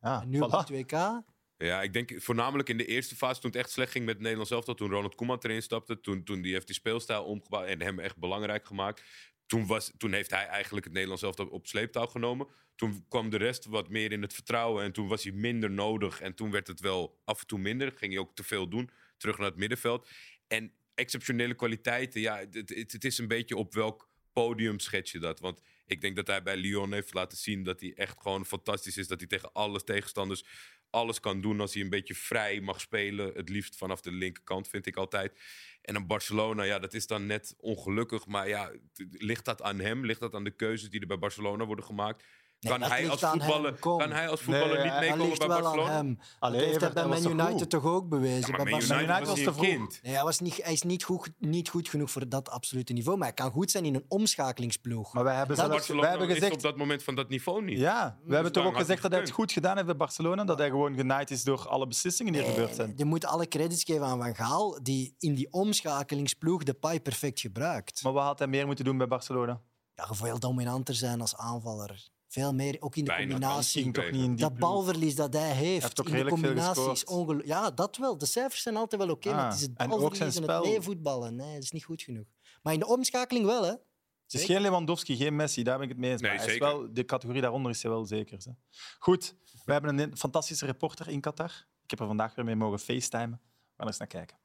S1: Ja,
S2: En nu op
S1: voilà.
S2: het WK.
S3: Ja, ik denk voornamelijk in de eerste fase toen het echt slecht ging met Nederland zelf. Toen Ronald Koeman erin stapte, toen, toen die heeft die speelstijl omgebouwd en hem echt belangrijk gemaakt. Toen, was, toen heeft hij eigenlijk het Nederlands zelf op sleeptouw genomen. Toen kwam de rest wat meer in het vertrouwen en toen was hij minder nodig. En toen werd het wel af en toe minder. Ging hij ook te veel doen, terug naar het middenveld. En exceptionele kwaliteiten, ja, het, het, het is een beetje op welk podium schets je dat. Want ik denk dat hij bij Lyon heeft laten zien dat hij echt gewoon fantastisch is. Dat hij tegen alle tegenstanders alles kan doen als hij een beetje vrij mag spelen. Het liefst vanaf de linkerkant, vind ik altijd. En een Barcelona, ja, dat is dan net ongelukkig. Maar ja, t- ligt dat aan hem? Ligt dat aan de keuzes die er bij Barcelona worden gemaakt?
S2: Nee,
S3: Kan
S2: dat
S3: hij,
S2: ligt
S3: als
S2: aan hem,
S3: voetballer,
S2: kom.
S3: kan hij als voetballer
S1: Nee,
S3: niet
S1: hij
S2: Dat
S3: meekomen
S2: ligt
S3: bij
S2: wel aan
S3: Barcelona?
S2: hem.
S1: Allee,
S2: dat heeft hij
S1: Evert,
S2: bij
S1: hij was
S2: Man
S1: toch goed?
S2: United toch ook bewezen.
S3: Ja, maar
S2: Bij
S3: Man
S2: Barcelona-
S3: United
S1: United
S3: was
S1: was
S3: hij
S1: te
S3: een
S1: vroeg.
S3: kind.
S2: Nee, hij, was niet, hij is niet goed, niet goed genoeg voor dat absolute niveau. Maar hij kan goed zijn in een omschakelingsploeg.
S1: Maar wij hebben,
S2: Dat-
S1: zelfs, wij
S3: Barcelona
S1: hebben
S3: is
S1: gezegd...
S3: op dat moment van dat niveau niet.
S1: Ja, we hebben toch
S3: daarom
S1: ook
S3: had
S1: gezegd
S3: hij
S1: dat hij het goed gedaan heeft bij Barcelona. Dat hij gewoon genaaid is door alle beslissingen die er gebeurd zijn.
S2: Eh, Je moet alle credits geven aan Van Gaal, die in die omschakelingsploeg de paai perfect gebruikt.
S1: Maar wat had hij meer moeten doen bij Barcelona?
S2: Ja, veel dominanter zijn als aanvaller. Veel meer, ook in de
S3: Bijna
S2: combinatie.
S1: Ging toch niet in die
S2: dat balverlies dat hij heeft,
S1: heeft ook
S2: in de
S1: redelijk veel
S2: combinatie is
S1: gescoord.
S2: ongelooflijk. Ja, dat wel. De cijfers zijn altijd wel oké, maar
S1: Ah,
S2: het is het
S1: en ook zijn
S2: balverlies en, het
S1: spel.
S2: meevoetballen. Nee, dat is niet goed genoeg. Maar in de omschakeling wel, hè.
S1: Het is geen Lewandowski, geen Messi, daar ben ik het mee eens.
S3: Nee,
S1: maar hij is
S3: zeker.
S1: wel, de categorie daaronder is hij wel zeker. Hè. Goed, we hebben een fantastische reporter in Qatar. Ik heb er vandaag weer mee mogen facetimen. We gaan eens naar kijken.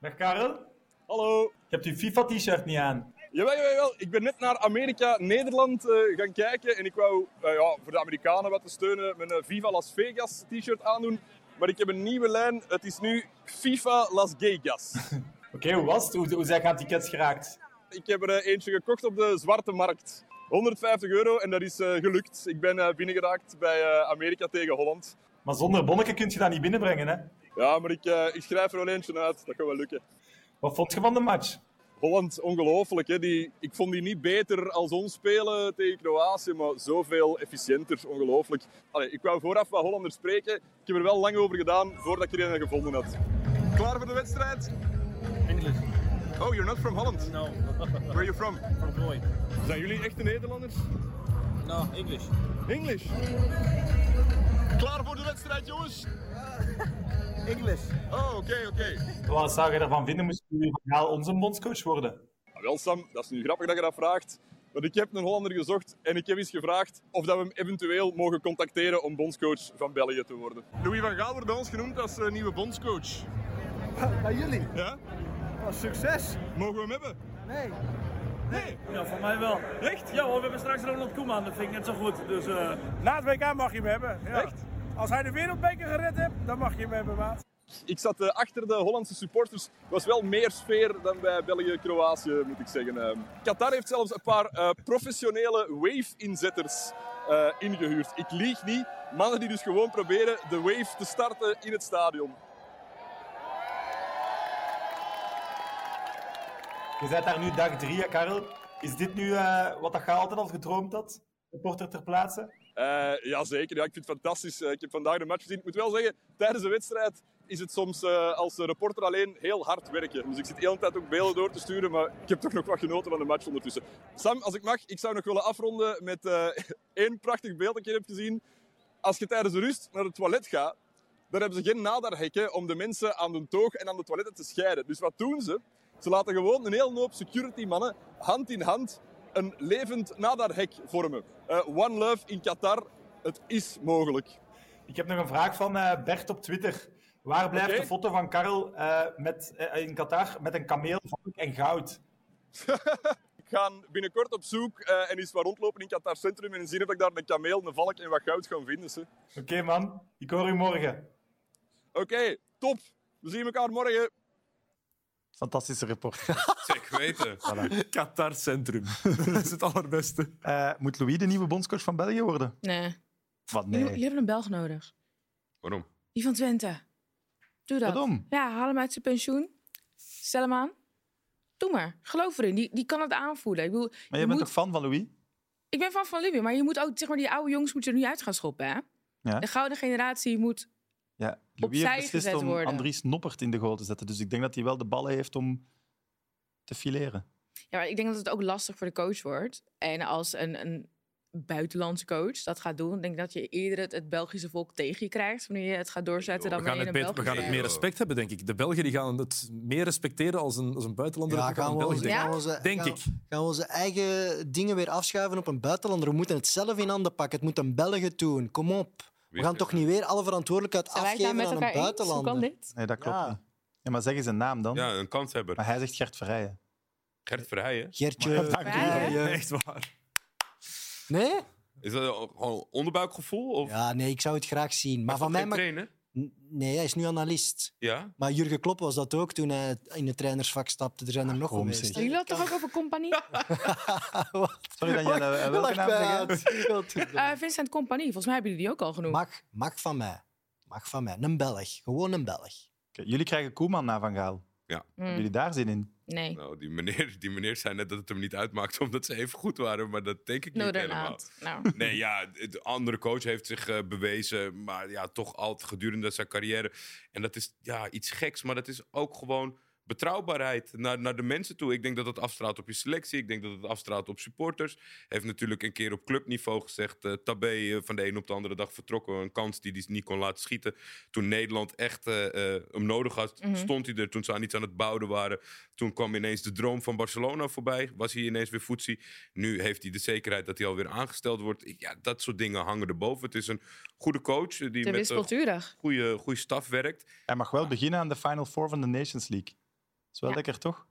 S11: Dag Karel. Hallo. Je hebt je FIFA-t-shirt niet aan.
S7: Jawel, jawel, jawel. Ik ben net naar Amerika, Nederland eh, gaan kijken. En ik wou eh, ja, voor de Amerikanen wat te steunen mijn eh, Viva Las Vegas t-shirt aandoen. Maar ik heb een nieuwe lijn. Het is nu FIFA Las Vegas.
S11: Oké, hoe was het? Hoe, hoe zijn je aan tickets geraakt?
S7: Ik heb er eh, eentje gekocht op de zwarte markt. 150 euro en dat is eh, gelukt. Ik ben eh, binnengeraakt bij eh, Amerika tegen Holland.
S11: Maar zonder bonnetje kun je dat niet binnenbrengen, hè?
S7: Ja, maar ik, eh, ik schrijf er wel eentje uit. Dat gaat wel lukken.
S11: Wat vond je van de match?
S7: Holland, ongelooflijk. Hè? Die, ik vond die niet beter als ons spelen tegen Kroatië, maar zoveel efficiënter. Ongelooflijk. Allee, ik wou vooraf wat Hollanders spreken. Ik heb er wel lang over gedaan voordat ik er een gevonden had. Klaar voor de wedstrijd?
S11: English.
S7: Oh, you're not from Holland.
S11: No.
S7: Where are you from?
S11: From Lloyd.
S7: Zijn jullie echte Nederlanders?
S11: No, English.
S7: English. Klaar voor de wedstrijd, jongens?
S11: English.
S7: Oh, oké, oké.
S11: Wat zou je ervan vinden? Moest je van Gaal onze bondscoach worden?
S7: Ja, wel Sam, dat is nu grappig dat je dat vraagt. Want ik heb een Hollander gezocht en ik heb eens gevraagd of dat we hem eventueel mogen contacteren om bondscoach van België te worden. Louis van Gaal wordt bij ons genoemd als eh, nieuwe bondscoach.
S11: Bij jullie?
S7: Ja?
S11: Succes!
S7: Mogen we hem hebben?
S11: Nee.
S7: Nee.
S11: Ja, voor mij wel. Echt? Ja, we hebben straks Ronald Koeman aan de vinger, net zo goed. Dus, Na het WK mag je hem hebben. Echt? Als hij de wereldbeker gered hebt, dan mag je hem hebben, maat.
S7: Ik zat eh, achter de Hollandse supporters. Er was wel meer sfeer dan bij België-Kroatië, moet ik zeggen. Eh, Qatar heeft zelfs een paar eh, professionele wave-inzetters eh, ingehuurd. Ik lieg niet. Mannen die dus gewoon proberen de wave te starten in het stadion.
S11: Je bent daar nu dag drie, hè, Karel. Is dit nu eh, wat dat je altijd al gedroomd had? Reporter ter plaatse?
S7: Eh, Jazeker, ja, ik vind het fantastisch. Eh, ik heb vandaag de match gezien. Ik moet wel zeggen, tijdens de wedstrijd is het soms eh, als reporter alleen heel hard werken. Dus ik zit de hele tijd ook beelden door te sturen, maar ik heb toch nog wat genoten van de match ondertussen. Sam, als ik mag, ik zou nog willen afronden met eh, één prachtig beeld dat je hebt gezien. Als je tijdens de rust naar het toilet gaat, dan hebben ze geen nadarhekken om de mensen aan de toog en aan de toiletten te scheiden. Dus wat doen ze? Ze laten gewoon een hele hoop security mannen hand in hand een levend nadarhek vormen. Eh, One Love in Qatar, het is mogelijk.
S12: Ik heb nog een vraag van eh, Bert op Twitter. Waar blijft
S7: Oké.
S12: de foto van Karel eh, met, eh, in Qatar met een kameel, valk en goud?
S7: Ik ga binnenkort op zoek eh, en eens wat rondlopen in Qatar Centrum en zien of ik daar een kameel, een valk en wat goud ga vinden. ze.
S12: Oké man, ik hoor u morgen.
S7: Oké, top. We zien elkaar morgen.
S1: Fantastische report.
S3: Zeker weten.
S9: Qatar Centrum. dat is het allerbeste.
S1: Eh, moet Louis de nieuwe bondscoach van België worden?
S5: Nee.
S1: Wat
S5: Jullie, jullie
S1: nee.
S5: hebben een Belg nodig.
S3: Waarom?
S5: Die van Twente. Doe dat.
S1: Waarom?
S5: Ja, haal hem uit zijn pensioen. Stel hem aan. Doe maar. Geloof erin. Die, die kan het aanvoelen. Ik, bedoel,
S1: Maar
S5: je
S1: jij bent
S5: moet-
S1: toch fan van Louis?
S5: ik ben van van Libië, maar je moet ook zeg maar, die oude jongens moet je er nu uit gaan schoppen. Hè?
S1: Ja.
S5: De gouden generatie moet.
S1: Ja, Louis
S5: Opzij
S1: heeft beslist
S5: gezet
S1: om
S5: worden.
S1: Andries Noppert in de goal te zetten. Dus ik denk dat hij wel de ballen heeft om te fileren.
S5: Ja, maar ik denk dat het ook lastig voor de coach wordt. En als een, een buitenlandse coach dat gaat doen, denk ik dat je eerder het, het Belgische volk tegen je krijgt wanneer je het gaat doorzetten
S3: Joh,
S5: dan
S9: We gaan,
S5: wanneer je een
S9: het beter-
S5: Belgisch
S9: we gaan het meer respect hebben, denk ik. De Belgen die gaan het meer respecteren als een, als een buitenlander.
S2: Ja,
S9: dat ook aan
S2: gaan we,
S9: een Belg
S2: onze,
S9: denkt.
S2: gaan we onze-
S9: Denk
S2: gaan-
S9: ik.
S2: gaan we onze eigen dingen weer afschuiven op een buitenlander. We moeten het zelf in handen pakken. Het moet een Belgen doen. Kom op. We gaan toch niet weer alle verantwoordelijkheid
S5: Zijn wij het nou
S2: afgeven
S5: met
S2: aan een
S5: elkaar eens? Hoe kan
S2: buitenlander.
S5: dit?
S1: Nee, dat klopt
S2: Ja.
S1: niet. Ja, maar zeg eens een naam dan.
S3: Ja, een kanshebber.
S1: Maar hij zegt Gert Verrijen.
S3: Gert Verheijen.
S2: Gertje.
S5: Verrijen?
S2: Verrijen.
S9: Echt waar.
S2: eh, Nee?
S3: Is dat een- gewoon onderbuikgevoel? Of
S2: Ja, nee, ik zou het graag zien. Maar van
S3: Hij is
S2: mij
S3: geen
S2: mag...
S3: trainer?
S2: N- Nee, hij is nu analist.
S3: Ja.
S2: Maar Jurgen Klopp was dat ook toen hij in het trainersvak stapte. Er zijn er nog
S1: kom,
S2: geweest.
S1: zeg.
S5: Jullie hadden het toch ook over compagnie?
S1: Sorry dat jij eh, welke naam zegt.
S5: Eh, Vincent Compagnie, volgens mij hebben jullie die ook al genoemd.
S2: Mag, mag van mij. Mag van mij. Een Belg. Gewoon een Belg.
S1: Oké, Jullie krijgen Koeman na Van Gaal.
S5: Hmm,
S1: Hebben jullie daar zin in?
S5: nee,
S3: Nou, die meneer, die meneer zei net dat het hem niet uitmaakte omdat ze even goed waren, maar dat denk ik niet helemaal.
S5: inderdaad. Nou,
S3: Nee, ja, de andere coach heeft zich eh, bewezen, maar ja, toch altijd gedurende zijn carrière. En dat is ja, iets geks, maar dat is ook gewoon betrouwbaarheid naar, naar de mensen toe. Ik denk dat dat afstraalt op je selectie, ik denk dat het afstraalt op supporters. Heeft natuurlijk een keer op clubniveau gezegd, eh, Tabé eh, van de een op de andere dag vertrokken, een kans die hij niet kon laten schieten. Toen Nederland echt eh, eh, hem nodig had,
S5: Mhm.
S3: stond hij er. Toen ze aan iets aan het bouwen waren, toen kwam ineens de droom van Barcelona voorbij, was hij ineens weer voetsie. Nu heeft hij de zekerheid dat hij alweer aangesteld wordt. Ik- Ja, dat soort dingen hangen erboven. Het is een goede coach eh, die
S5: te
S3: met een
S5: wispelturig.
S3: goede, goede staf werkt.
S1: Hij mag
S2: Ah.
S1: wel beginnen aan de Final Four van de Nations League. is wel
S5: Ja.
S1: lekker, toch?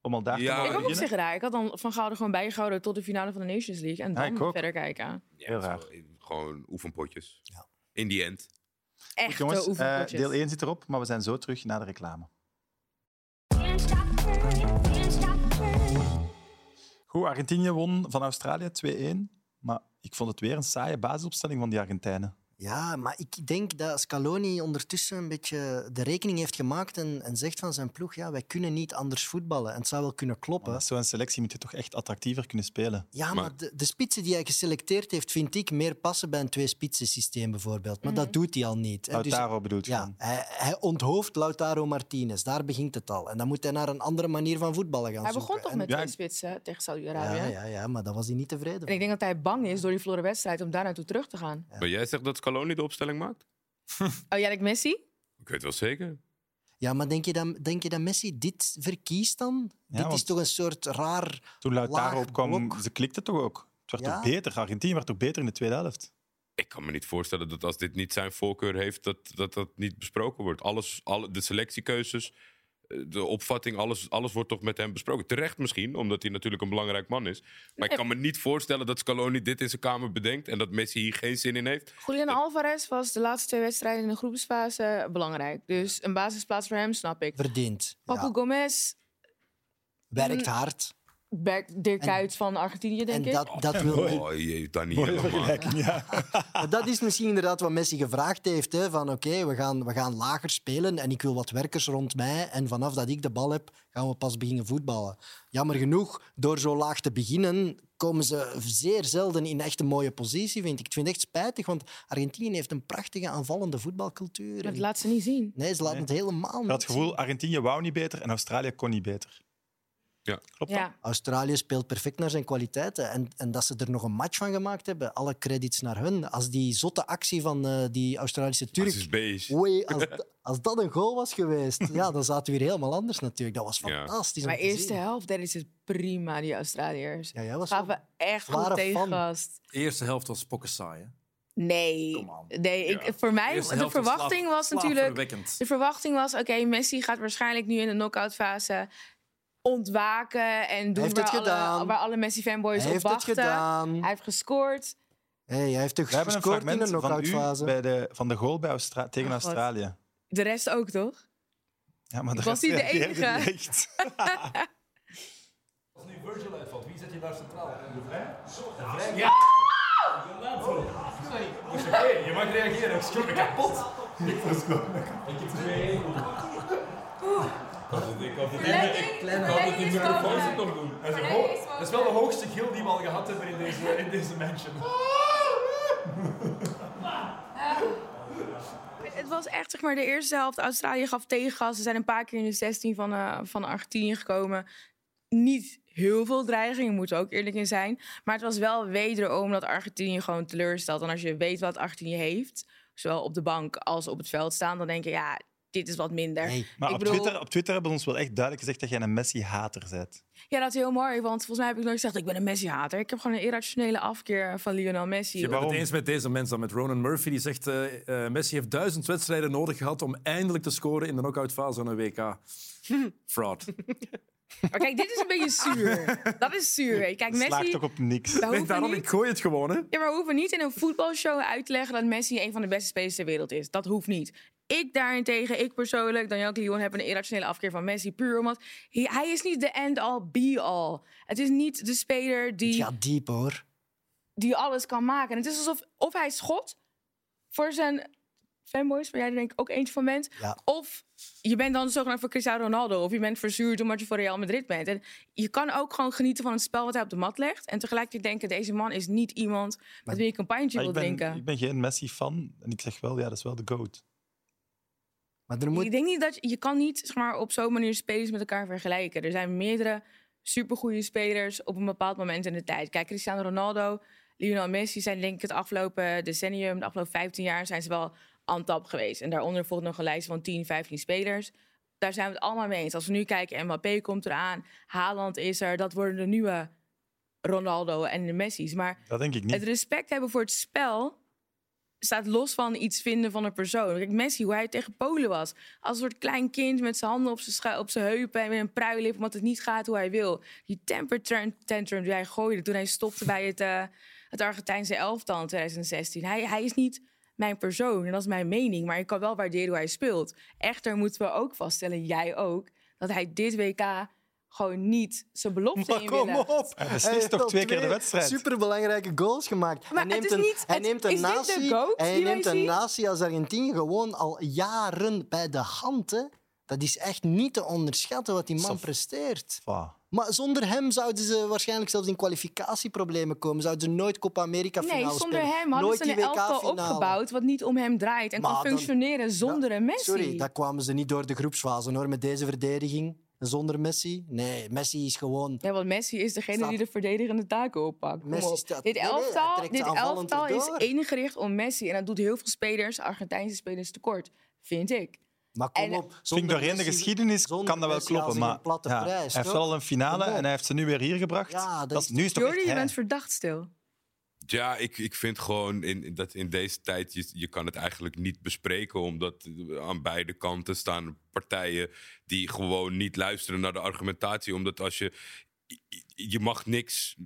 S1: Om al daar
S3: Ja.
S1: te
S5: Ik
S1: mogen
S5: heb ook op
S1: beginnen.
S5: zich raar. Ik had dan Van Gaal er gewoon bijgehouden tot de finale van de Nations League. En
S1: Ja,
S5: dan
S1: ik ook.
S5: verder kijken.
S3: Ja,
S1: Heel
S3: het is
S1: raar.
S3: wel- Gewoon oefenpotjes.
S2: Ja.
S3: In die end.
S1: Goed,
S5: Echt
S1: jongens, eh,
S5: oefenpotjes.
S1: deel 1 zit erop, maar we zijn zo terug naar de reclame. Goed, Argentinië won van Australië 2-1. Maar ik vond het weer een saaie basisopstelling van die Argentijnen.
S2: Ja, maar ik denk dat Scaloni ondertussen een beetje de rekening heeft gemaakt en, en zegt van zijn ploeg, ja, wij kunnen niet anders voetballen. En het zou wel kunnen kloppen.
S1: Maar met Zo'n selectie moet je toch echt attractiever kunnen spelen.
S2: Ja, maar,
S3: Maar-
S2: de, de spitsen die hij geselecteerd heeft, vind ik meer passen bij een twee-spitsen systeem bijvoorbeeld. Maar
S5: Mhm.
S2: dat doet hij al niet. hè. Dus-
S1: Lautaro bedoelt
S2: ja,
S1: je.
S2: hij, hij onthooft Lautaro Martinez. Daar begint het al. En dan moet hij naar een andere manier van voetballen gaan
S5: Hij
S2: zoeken.
S5: begon toch
S2: En-
S5: met
S1: Ja,
S5: twee
S1: ik-
S5: spitsen tegen Saudi-Arabië.
S2: Ja, ja, ja, maar daar was hij niet tevreden
S5: En ik
S2: van.
S5: denk dat hij bang is door die verloren wedstrijd om daar naartoe terug te gaan.
S3: Maar jij zegt dat Scaloni de opstelling maakt?
S5: Oh, jij denkt Messi?
S3: Ik weet wel zeker.
S2: Ja, maar denk je, dat, denk je dat Messi dit verkiest dan?
S1: Ja,
S2: dit is
S1: want-
S2: toch een soort raar...
S1: Toen Lautaro
S2: Laag
S1: opkwam,
S2: blok.
S1: ze klikte toch ook? Het werd
S2: Ja.
S1: toch beter? Argentinië werd toch beter in de tweede helft?
S3: Ik kan me niet voorstellen dat als dit niet zijn voorkeur heeft, dat dat, dat niet besproken wordt. Alles, alle, de selectiekeuzes, eh, de opvatting, alles, alles wordt toch met hem besproken. Terecht misschien, omdat hij natuurlijk een belangrijk man is. Maar ik
S5: Nee.
S3: kan me niet voorstellen dat Scaloni dit in zijn kamer bedenkt en dat Messi hier geen zin in heeft.
S5: Julian Alvarez was de laatste twee wedstrijden in de groepsfase belangrijk. Dus een basisplaats voor hem, snap ik.
S2: Verdiend.
S5: Papu
S2: Ja,
S5: Gomez,
S2: werkt hard.
S5: Berk- Dirk
S2: En-
S5: Kuyt van Argentinië, denk
S2: En
S5: ik.
S2: dat, dat wil...
S3: Oh, jee, Daniel, man.
S2: Maar dat is misschien inderdaad wat Messi gevraagd heeft. Hè? Van oké, we, gaan, we gaan lager spelen en ik wil wat werkers rond mij. En vanaf dat ik de bal heb, gaan we pas beginnen voetballen. Jammer genoeg, door zo laag te beginnen, ko- komen ze zeer zelden in echt een mooie positie, vind ik. Ik vind het echt spijtig, want Argentinië heeft een prachtige aanvallende voetbalcultuur.
S5: Maar dat laat ze niet zien.
S2: Nee, ze laten het helemaal
S1: Ik
S2: niet
S1: had het gevoel, Argentinië wou niet beter en Australië kon niet beter.
S3: Ja.
S1: Klopt dat?
S5: Ja.
S2: Australië speelt perfect naar zijn kwaliteiten. En, en dat ze er nog een match van gemaakt hebben, alle credits naar hun. Als die zotte actie van eh, die Australische
S3: Het is
S2: Turk.
S3: beest.
S2: Oei, als, d- als dat een goal was geweest, ja, dan zaten we weer helemaal anders natuurlijk. Dat was fantastisch. om
S5: Maar
S2: te
S5: eerste
S2: zien.
S5: helft deden ze het prima, die Australiërs.
S2: Ja, jij was
S5: Gaven echt goed
S2: zware
S5: tegen
S2: fan.
S5: gast.
S9: De eerste helft was pokken saai. hè?
S5: Nee, nee ik, voor mij,
S9: Eerste
S5: de
S9: helft was
S5: verwachting
S9: slaap-
S5: was natuurlijk...
S9: slaapverwekkend.
S5: De verwachting was, oké, Messi gaat waarschijnlijk nu in de knock-outfase ontwaken en doen
S2: heeft
S5: waar,
S2: het
S5: alle,
S2: gedaan.
S5: waar alle Messi-fanboys
S2: Hij
S5: op
S2: heeft het
S5: wachten.
S2: gedaan.
S5: Hij heeft gescoord.
S2: Hey, hij heeft toch
S1: We hebben een
S2: gescoord in
S1: fragment
S2: de
S1: van, u
S2: knock-outfase.
S1: bij de, van de goal bij Austra- tegen
S5: Oh, God.
S1: Australië.
S5: De rest ook, toch?
S1: Ja, maar
S5: Ik
S1: de
S5: was
S1: rest
S5: niet de
S1: reageerde
S5: enige.
S1: niet echt.
S13: Als nu Virgil uitvalt, wie zet je daar centraal? De Vrij?
S11: Ja!
S13: Sorry. je mag reageren. Ik schrok me kapot. Ik schrok me kapot. Ik heb twee. Ik had het niet meer- ik- ik had het niet meer op voice nog doen. Dat is, een ho- dat is wel de hoogste gil die we al gehad hebben in deze, in deze mansion.
S5: Het was echt zeg maar de eerste helft. Australië gaf tegengas. Ze zijn een paar keer in de 16 van, eh, van Argentinië gekomen. Niet heel veel dreiging, daar moeten we ook eerlijk in zijn. Maar het was wel wederom dat Argentinië gewoon teleurstelt. En als je weet wat Argentinië heeft, zowel op de bank als op het veld staan, dan denk je ja, dit is wat minder.
S1: Maar
S5: Ik
S1: op,
S5: bedoel-
S1: Twitter, op Twitter hebben ze ons wel echt duidelijk gezegd dat jij een Messi-hater bent.
S5: Ja, dat is heel mooi, want volgens mij heb ik nooit gezegd ik ben een Messi-hater. Ik heb gewoon een irrationele afkeer van Lionel Messi.
S9: Je bent het eens met deze mensen, met Ronan Murphy. Die zegt, eh, eh, Messi heeft duizend wedstrijden nodig gehad om eindelijk te scoren in de knock-outfase van een WK. Fraud.
S5: Maar kijk, dit is een beetje zuur. Dat is zuur. hè. Kijk, Messi...
S9: ook op niks.
S5: Wij hoeven
S9: daarom,
S5: niet-
S9: ik gooi het gewoon, hè.
S5: Ja, maar we hoeven niet in een voetbalshow uit te leggen dat Messi een van de beste spelers ter wereld is. Dat hoeft niet. Ik daarentegen, ik persoonlijk, Daniel Lyon, heb een irrationele afkeer van Messi. Puur omdat hij, hij is niet de end-all, be-all. Het is niet de speler die,
S2: Ja, diep hoor.
S5: die alles kan maken. Het is alsof of hij schot voor zijn fanboys, waar jij er denk ik ook eentje van bent.
S2: Ja.
S5: Of je bent dan zogenaamd voor Cristiano Ronaldo. Of je bent verzuurd omdat je voor Real Madrid bent. En je kan ook gewoon genieten van het spel wat hij op de mat legt. En tegelijkertijd denken, deze man is niet iemand met wie ik een pintje
S1: Maar
S5: wil
S1: ik, ben,
S5: drinken.
S1: ik ben geen Messi-fan en ik zeg wel, ja, dat is wel de GOAT.
S2: Maar er
S5: Ik denk niet dat je, je kan niet zeg maar, op zo'n manier spelers met elkaar vergelijken. Er zijn meerdere supergoeie spelers op een bepaald moment in de tijd. Kijk, Cristiano Ronaldo, Lionel Messi zijn denk ik het afgelopen decennium, de afgelopen 15 jaar, zijn ze wel on top geweest. En daaronder volgt nog een lijst van 10, 15 spelers. Daar zijn we het allemaal mee eens. Als we nu kijken, Mbappé komt eraan, Haaland is er, dat worden de nieuwe Ronaldo en de Messi's. Maar
S1: Dat denk ik niet.
S5: het respect hebben voor het spel staat los van iets vinden van een persoon. Kijk, Messi, hoe hij tegen Polen was. Als een soort klein kind met zijn handen op zijn, schu- op zijn heupen... en met een pruilip, omdat het niet gaat hoe hij wil. Die temper tran- tantrum die hij gooide toen hij stopte bij het, eh, het Argentijnse elftal in 2016. Hij, hij is niet mijn persoon en dat is mijn mening. Maar ik kan wel waarderen hoe hij speelt. Echter moeten we ook vaststellen, jij ook... dat hij dit WK gewoon niet zijn belofte
S2: Maar
S5: in
S2: kom
S5: wil.
S2: op!
S1: Hij Ah, beslist
S2: heeft
S1: toch
S2: al
S1: twee keer de wedstrijd?
S2: Superbelangrijke goals gemaakt.
S5: Maar
S2: hij
S5: het
S2: neemt
S5: is
S2: een,
S5: niet-
S2: hij
S5: het-
S2: neemt een
S5: is dit de
S2: natie,
S5: goat
S2: Hij
S5: die wij
S2: neemt een
S5: zien?
S2: natie als Argentinië gewoon al jaren bij de hand. hè. Dat is echt niet te onderschatten wat die man presteert.
S1: Fa.
S2: Maar zonder hem zouden ze waarschijnlijk zelfs in kwalificatieproblemen komen. Zouden ze nooit Copa America finale
S5: Nee, zonder
S2: spelen.
S5: hem hadden
S2: nooit
S5: ze een
S2: die WK
S5: elftal
S2: finale.
S5: opgebouwd wat niet om hem draait en
S2: Maar
S5: kan
S2: dan-
S5: functioneren zonder een Messi.
S2: Sorry, daar kwamen ze niet door de groepsfase hoor, met deze verdediging. En Zonder Messi? Nee, Messi is gewoon...
S5: Ja, want Messi is degene die de verdedigende taken oppakt. Kom
S2: Messi
S5: op.
S2: staat-
S5: Dit
S2: Nee, nee, hij
S5: elftal,
S2: trekt
S5: dit
S2: aanvallend
S5: elftal is
S2: erdoor.
S5: ingericht om Messi. En dat doet heel veel spelers, Argentijnse spelers, tekort. Vind ik.
S2: Maar kom
S5: En-
S2: op,
S1: Vind ik
S2: zonder
S1: doorheen de
S2: Messi-
S1: geschiedenis kan
S2: zonder
S1: dat wel
S2: Messi
S1: kloppen,
S2: halen ze
S1: maar
S2: geen platte
S1: ja, hij
S2: prijs,
S1: heeft
S2: toch?
S1: wel al een finale
S2: Kom op.
S1: en hij heeft ze nu weer hier gebracht.
S2: Ja, dat is-
S1: nu is het toch
S5: Jordi,
S1: echt
S5: je
S1: hij.
S5: bent verdacht stil.
S3: Ja, ik, ik vind gewoon in, in dat in deze tijd, je, je kan het eigenlijk niet bespreken, omdat eh, aan beide kanten staan partijen die gewoon niet luisteren naar de argumentatie. Omdat als je, je mag niks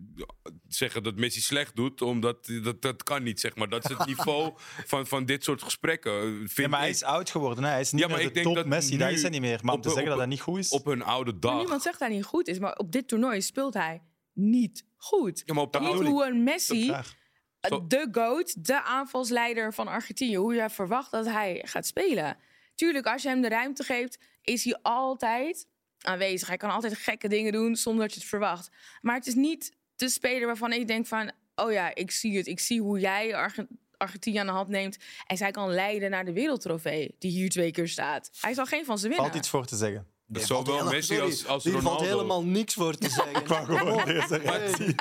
S3: zeggen dat Messi slecht doet, omdat eh, dat, dat kan niet, zeg maar. Dat is het niveau van, van dit soort gesprekken. eh, Vind
S1: Ja, maar hij
S3: ik.
S1: is oud geworden. Hè. Hij is niet
S3: Ja, maar
S1: meer
S3: ik
S1: de
S3: denk
S1: top
S3: dat
S1: Messi, dat
S3: nu
S1: is hij niet meer. Maar om
S3: op-
S1: te zeggen dat
S3: op-
S1: dat niet goed is...
S3: op hun oude
S5: Maar
S3: dag.
S5: niemand zegt dat hij niet goed is. Maar op dit toernooi speelt hij niet goed.
S3: Ja, maar op de
S5: niet
S3: oude-
S5: hoe een Messi,
S3: Dat-
S5: eh, de GOAT, de aanvalsleider van Argentinië... hoe je verwacht dat hij gaat spelen. Tuurlijk, als je hem de ruimte geeft, is hij altijd aanwezig. Hij kan altijd gekke dingen doen zonder dat je het verwacht. Maar het is niet de speler waarvan ik denk van... Oh ja, ik zie het. Ik zie hoe jij Arge- Argentinië aan de hand neemt. En zij kan leiden naar de wereldtrofee die hier twee keer staat. Hij zal geen van ze winnen.
S1: Valt iets voor te zeggen.
S3: Dat zou wel Messi als, als Ronaldo.
S2: niks voor te zeggen.
S1: Ik wou gewoon deze reactie.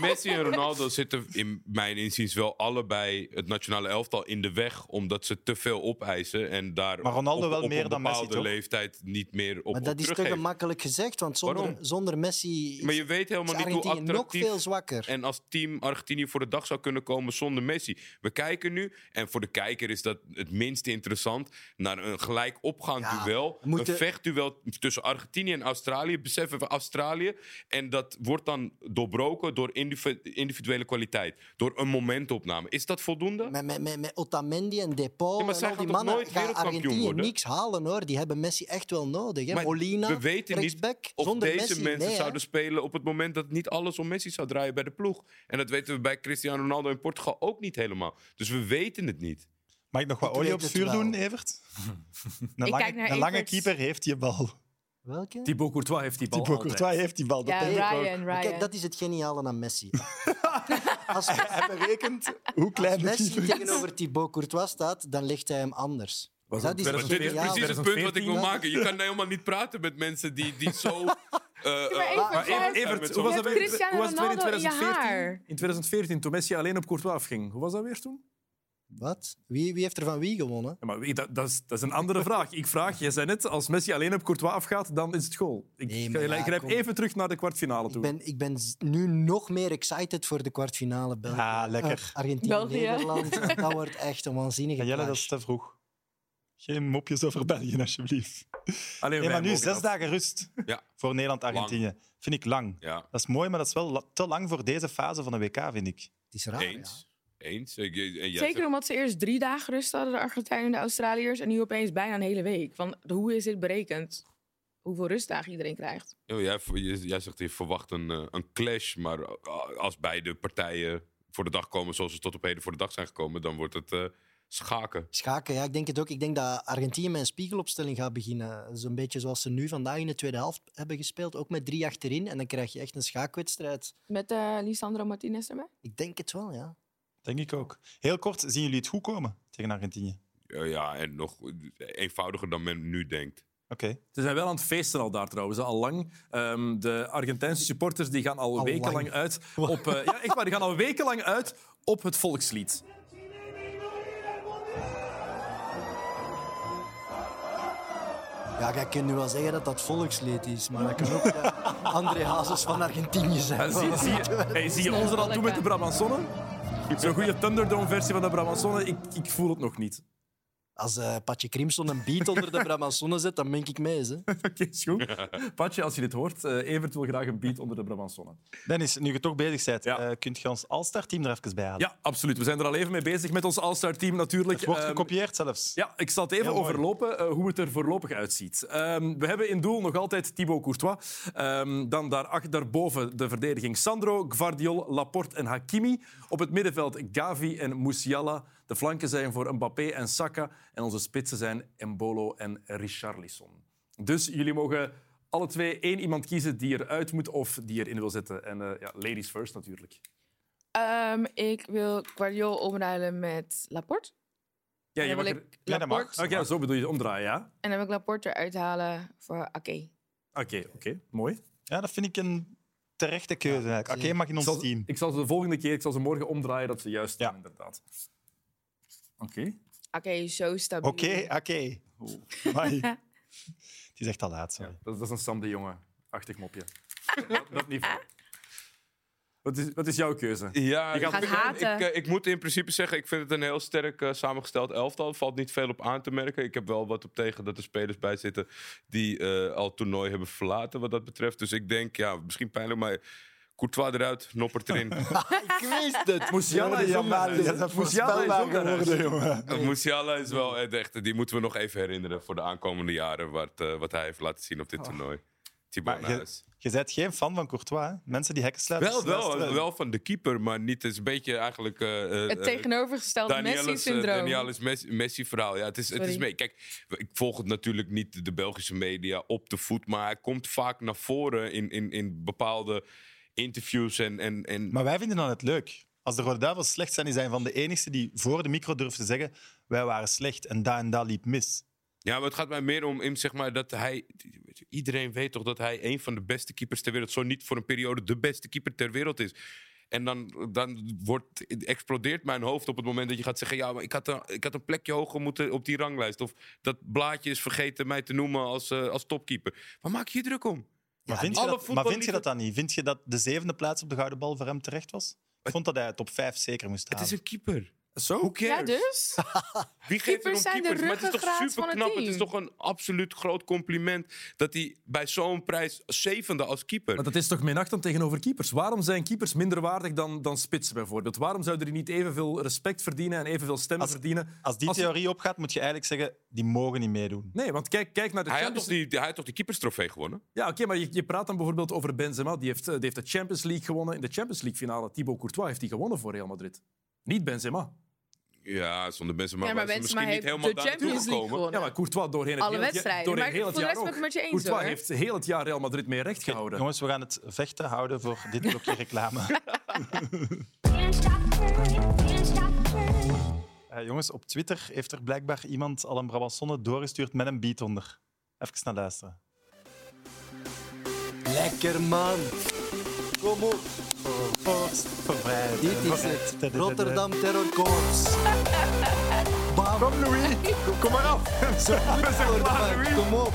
S3: Messi en Ronaldo zitten in mijn inziens wel allebei het nationale elftal in de weg. Omdat ze te veel opeisen. En daar
S1: Maar Ronaldo
S3: op,
S1: wel
S3: op
S1: meer
S3: een
S1: dan Messi,
S3: bepaalde
S1: toch?
S3: leeftijd niet meer op,
S2: Maar
S3: op
S2: dat is toch
S3: teruggeeft.
S2: gemakkelijk gezegd, want zonder,
S3: Waarom?
S2: zonder Messi is
S3: Maar je weet helemaal
S2: is
S3: niet hoe
S2: Argentinië
S3: attractief...
S2: nog veel zwakker.
S3: En als team Argentinië voor de dag zou kunnen komen zonder Messi. We kijken nu, en voor de kijker is dat het minst interessant... naar een gelijk opgaand duel.
S2: moeten-
S3: Een vechtduel tussen Argentinië en Australië. Beseffen we Australië. En dat wordt dan doorbroken door individu- individuele kwaliteit. Door een momentopname. Is dat voldoende?
S2: met, met, met, met Otamendi en Depol
S3: Ja, maar
S2: en
S3: zij
S2: al die
S3: gaan toch
S2: mannen
S3: nooit
S2: gaat
S3: wereldkampioen
S2: Argentinië
S3: worden?
S2: niks halen hoor. Die hebben Messi echt wel nodig. Hè?
S3: Maar
S2: Molina,
S3: we weten
S2: rechtsback,
S3: niet of
S2: zonder
S3: deze
S2: Messi,
S3: mensen
S2: nee, hè.
S3: zouden spelen op het moment dat niet alles om Messi zou draaien bij de ploeg. En dat weten we bij Cristiano Ronaldo in Portugal ook niet helemaal. Dus we weten het niet.
S1: Mag ik nog wat
S2: Ik
S1: olie
S2: weet
S1: op het
S2: het
S1: vuur
S2: wel.
S1: doen, Evert? Een
S5: Ik
S1: lange,
S5: kijk naar
S1: een lange
S5: Evert.
S1: keeper heeft die bal.
S2: Welke?
S9: Thibaut Courtois heeft die bal
S1: Thibaut
S9: altijd.
S1: Courtois heeft die bal. Dat
S5: Ja,
S1: denk ik ook.
S5: Ryan, Ryan.
S2: Maar Kijk, dat is het geniale aan Messi. Als
S1: En berekent hoe klein de
S2: Messi
S1: keeper is.
S2: tegenover Thibaut Courtois staat, dan legt hij hem anders.
S9: Was
S2: dat
S9: ook
S2: is
S9: Maar
S3: Maar dit is
S2: geniaal.
S3: precies het punt wat ik wil
S9: 2014,
S3: maken. Je kan nou helemaal niet praten met mensen die, die zo... eh, eh,
S5: even-
S9: Maar
S5: Ja,
S9: Evert,
S5: ja,
S9: Evert,
S3: met
S9: hoe was
S5: zo'n-
S9: dat
S5: Je hebt
S9: weer-
S5: Cristiano
S9: hoe was het weer in
S5: Ronaldo in je
S9: 2014?
S5: haar.
S9: In 2014, toen Messi alleen op Courtois afging. Hoe was dat weer toen?
S2: Wat? Wie, wie heeft er van wie gewonnen?
S9: Ja, maar wie- dat, dat, is, dat is een andere vraag. Ik vraag, jij zei net, als Messi alleen op Courtois afgaat, dan is het goal. Ik
S2: Nee, maar
S9: ga-
S2: ja,
S9: ik grijp
S2: kom.
S9: even terug naar de kwartfinale
S2: Ik
S9: toe.
S2: ben, ik ben z- nu nog meer excited voor de kwartfinale. België.
S1: Ah, lekker.
S2: Eh, Argentinië,
S8: België.
S2: Nederland. Dat wordt echt een waanzinnige
S1: Ja, Jelle, dat
S2: clash.
S1: is te vroeg. Geen mopjes over België, alsjeblieft.
S9: Alleen
S1: Nee,
S9: wij
S1: maar nu
S9: mogen
S1: zes
S9: dat.
S1: dagen rust
S3: Ja.
S1: voor Nederland-Argentinië. Vind ik lang.
S3: ja,
S1: Dat is mooi, maar dat is wel la- te lang voor deze fase van een WK, vind ik.
S2: Het is raar, ja.
S3: eens. Eens. Ik- ik- en jij
S5: Zeker
S3: zegt-
S5: omdat ze eerst drie dagen rust hadden, de Argentijnen en de Australiërs. En nu opeens bijna een hele week. Want hoe is dit berekend? Hoeveel rustdagen iedereen krijgt?
S3: Oh, jij, jij- jij zegt, je verwacht een, eh, een clash. Maar eh, als beide partijen voor de dag komen zoals ze tot op heden voor de dag zijn gekomen... dan wordt het eh, schaken.
S2: Schaken, ja, ik denk het ook. Ik denk dat Argentinië met een spiegelopstelling gaat beginnen. Zo'n beetje zoals ze nu vandaag in de tweede helft hebben gespeeld. Ook met drie achterin. En dan krijg je echt een schaakwedstrijd.
S5: Met eh Lisandro Martinez erbij?
S2: Ik denk het wel, ja.
S1: Denk ik ook. Heel kort, zien jullie het goed komen tegen Argentinië?
S3: Eh, ja, en nog eenvoudiger dan men nu denkt.
S1: Oké.
S9: Ze zijn wel aan het feesten al daar trouwens, hè, al lang. Ehm, de Argentijnse supporters die gaan al,
S2: Al
S9: wekenlang
S2: lang.
S9: uit op... eh, ja, echt waar, die gaan al wekenlang uit op het volkslied.
S2: Ja, jij kunt nu wel zeggen dat dat volksleed is. Maar dat kan ook eh, André Hazes van Argentinië
S9: En
S2: zijn.
S9: zie, zie, je- hey, zie je ons er al toe met de Brabantsonne? Zo'n goede Thunderdome-versie van de Brabantsonne, ik, ik voel het nog niet.
S2: Als eh Patje Crimson een beat onder de Brabantsonne zet, dan mink ik mee eens. Hè.
S9: Oké, is goed. Patje, als je dit hoort, eh, Evert wil graag een beat onder de Brabantsonne.
S1: Dennis, nu je toch bezig bent,
S9: Ja.
S1: eh, kunt je ons All-Star-team er even bij halen?
S9: Ja, absoluut. We zijn er al even mee bezig met ons All-Star-team natuurlijk.
S1: Het wordt
S9: Ehm,
S1: gekopieerd zelfs.
S9: Ja, ik zal het even
S1: Heel mooi.
S9: overlopen eh, hoe het er voorlopig uitziet. Ehm, we hebben in doel nog altijd Thibaut Courtois. Ehm, dan daarachter, daarboven de verdediging Sandro, Gvardiol, Laporte en Hakimi. Op het middenveld Gavi en Musiala. De flanken zijn voor Mbappé en Saka. En onze spitsen zijn Embolo en Richarlison. Dus jullie mogen alle twee één iemand kiezen die eruit moet of die erin wil zetten. En eh, ja, ladies first natuurlijk.
S5: Ehm, ik wil Guardiol omruilen met Laporte.
S9: Ja,
S5: En
S9: je
S5: dan
S9: mag
S5: wil
S9: er...
S5: ik
S1: Ja, dat mag.
S5: Laporte.
S9: Oké, zo bedoel je, omdraaien, ja?
S5: En dan wil ik Laporte eruit halen voor Ake.
S9: Oké, oké, mooi.
S1: Ja, dat vind ik een terechte keuze. eigenlijk. Oké, mag in ons
S9: Ik zal,
S1: team.
S9: ik zal ze de volgende keer, ik zal ze morgen omdraaien dat ze juist
S1: Ja.
S9: zijn, inderdaad. Oké.
S5: Ake is zo stabiel.
S1: Oké, oké. Amai. Het is echt al laat, sorry.
S9: Dat, dat is een Sam de Jonge-achtig mopje. dat, dat niet. Wat is, wat is jouw keuze?
S3: Ja,
S9: Je gaat
S3: ik,
S5: haten.
S3: Ik, eh, ik moet in principe zeggen, ik vind het een heel sterk eh, samengesteld elftal. Er valt niet veel op aan te merken. Ik heb wel wat op tegen dat er spelers bij zitten die eh, al het toernooi hebben verlaten wat dat betreft. Dus ik denk, ja, misschien pijnlijk, maar Courtois eruit, Noppert erin.
S2: Ik wist het.
S9: Musiala is ook
S1: Jamal,
S9: daaruit.
S1: je bent
S9: Musiala is
S1: voorspelbaar
S9: ook daaruit.
S1: geworden, jongen.
S3: Eh, Musiala is wel eh, de echte, die moeten we nog even herinneren voor de aankomende jaren wat, eh, wat hij heeft laten zien op dit toernooi. Thibaut
S1: Oh. Maar je-
S3: Nuis.
S1: Je bent geen fan van Courtois, hè? Mensen die hekken sluiten.
S3: Wel, wel,
S1: luisteren.
S3: wel van de keeper, maar niet. Het is een beetje eigenlijk. eh, eh,
S5: Het
S3: eh,
S5: tegenovergestelde Messi-syndroom.
S3: Daniels eh, Messi- Messi-verhaal. Ja, het is, het is
S5: Sorry.
S3: mee. Kijk, ik volg het natuurlijk niet de Belgische media op de voet, maar hij komt vaak naar voren in, in, in bepaalde interviews en... en, en
S1: Maar wij vinden dan het leuk. Als de Rode Duivels slecht zijn, die zijn van de enigste die voor de micro durft te zeggen wij waren slecht en daar en daar liep mis.
S3: Ja, maar het gaat mij meer om in, zeg maar, dat hij... Iedereen weet toch dat hij een van de beste keepers ter wereld... zo niet voor een periode de beste keeper ter wereld is. En dan, dan wordt, explodeert mijn hoofd op het moment dat je gaat zeggen... ja, maar ik had een, ik had een plekje hoger moeten op die ranglijst. Of dat blaadje is vergeten mij te noemen als, eh, als topkeeper. Waar maak je je druk om?
S1: Maar, vind, je
S3: Alle
S1: dat, maar
S3: voetballiever-
S1: vind je dat dan niet? Vind je dat de zevende plaats op de gouden bal voor hem terecht was? Ik vond dat hij top 5 zeker moest halen.
S3: Het is een keeper.
S1: Zo?
S5: Ja, dus?
S3: Wie geeft er om
S5: Keepers zijn de
S3: keepers? Maar het is toch
S5: ruggengraat van
S3: super
S5: het
S3: knap. Het is
S5: team.
S3: toch een absoluut groot compliment dat hij bij zo'n prijs zevende als keeper.
S9: Maar dat is toch minachtend tegenover keepers? Waarom zijn keepers minder waardig dan, dan spitsen bijvoorbeeld? Waarom zouden die niet evenveel respect verdienen en evenveel stemmen verdienen?
S1: Als die theorie opgaat, moet je eigenlijk zeggen, die mogen niet meedoen.
S9: Nee, want kijk, kijk naar de
S3: Hij had,
S9: Champions
S3: toch die, hij had toch die keeperstrofee gewonnen?
S9: Ja, oké, maar je, je praat dan bijvoorbeeld over Benzema. Die heeft, eh, die heeft de Champions League gewonnen. In de Champions League finale, Thibaut Courtois heeft die gewonnen voor Real Madrid. Niet Benzema.
S3: Ja, zonder mensen. Maar,
S5: Ja, maar
S3: was hij
S5: Benzema
S3: misschien niet
S5: heeft
S3: helemaal
S5: de
S3: daar naartoe
S5: Champions League
S3: gekomen.
S5: gewonnen.
S9: Ja, maar Courtois doorheen het
S5: Alle
S9: hele,
S5: wedstrijden.
S9: doorheen
S5: Maar
S9: heel
S5: voor de
S9: het jaar
S5: rest ben ik het met
S9: ook.
S5: je eens,
S9: Courtois
S5: hoor.
S9: heeft heel het jaar Real Madrid mee recht gehouden.
S1: Jongens, we gaan het vechten houden voor dit blokje reclame. Eh, jongens, op Twitter heeft er blijkbaar iemand al een Brabantsonne doorgestuurd met een beat onder. Even naar luisteren.
S2: Lekker man. Kom op.
S1: Forst voor vrijheid.
S2: Dit is het. Rotterdam Terrorkorps. Bam. Kom Louis. Kom maar af. Zo goed voor de man. Kom op.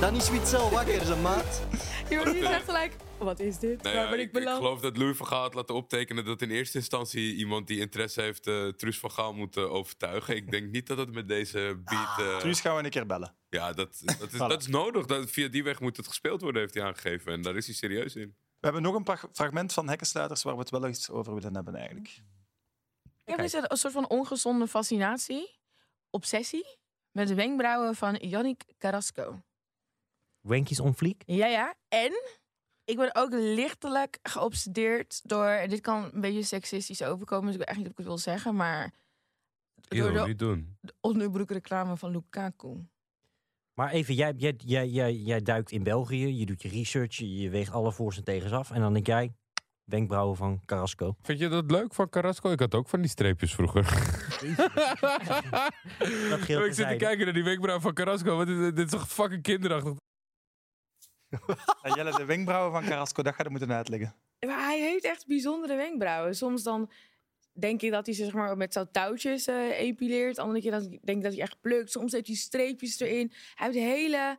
S2: Dan is Witzel wakker, zijn maat.
S5: Jordi is echt gelijk, wat is dit?
S3: Nee,
S5: Waar
S3: ja,
S5: ben ik,
S3: ik, ik
S5: beland?
S3: geloof dat Louis van Gaal had laten optekenen dat in eerste instantie iemand die interesse heeft, eh Truus van Gaal moet eh, overtuigen. Ik denk niet dat het met deze beat...
S5: Ah,
S3: eh,
S1: Truus gaan we een keer bellen.
S3: Ja, dat, dat, is, dat is nodig. Dat, via die weg moet het gespeeld worden, heeft hij aangegeven. En daar is hij serieus in.
S1: We hebben nog een pra- fragment van Hekkensluiters waar we het wel eens over willen hebben eigenlijk.
S8: Je hebt dus een soort van ongezonde fascinatie, obsessie, met de wenkbrauwen van Yannick Carrasco.
S14: Wenkies on fleek?
S8: Ja, ja. En ik ben ook lichtelijk geobsedeerd door... en dit kan een beetje seksistisch overkomen, dus ik weet echt niet of ik het wil zeggen, maar... door de
S6: niet doen.
S8: Osnubroek reclame van Lukaku.
S14: Maar even, jij, jij, jij, jij, jij duikt in België, je doet je research, je je weegt alle voor's en tegens af. En dan denk jij, wenkbrauwen van Carrasco.
S6: Vind je dat leuk van Carrasco? Ik had ook van die streepjes vroeger.
S14: dat
S6: ik zit te kijken naar die wenkbrauw van Carrasco. Wat is, dit is toch fucking kinderachtig?
S1: En Jelle, de wenkbrauwen van Carrasco, dat ga je moeten uitleggen.
S5: Maar hij heeft echt bijzondere wenkbrauwen. Soms dan denk ik dat hij ze zeg maar, met zo'n touwtjes eh, epileert. Andere keer dan denk ik dat hij echt plukt. Soms heeft hij streepjes erin. Hij heeft hele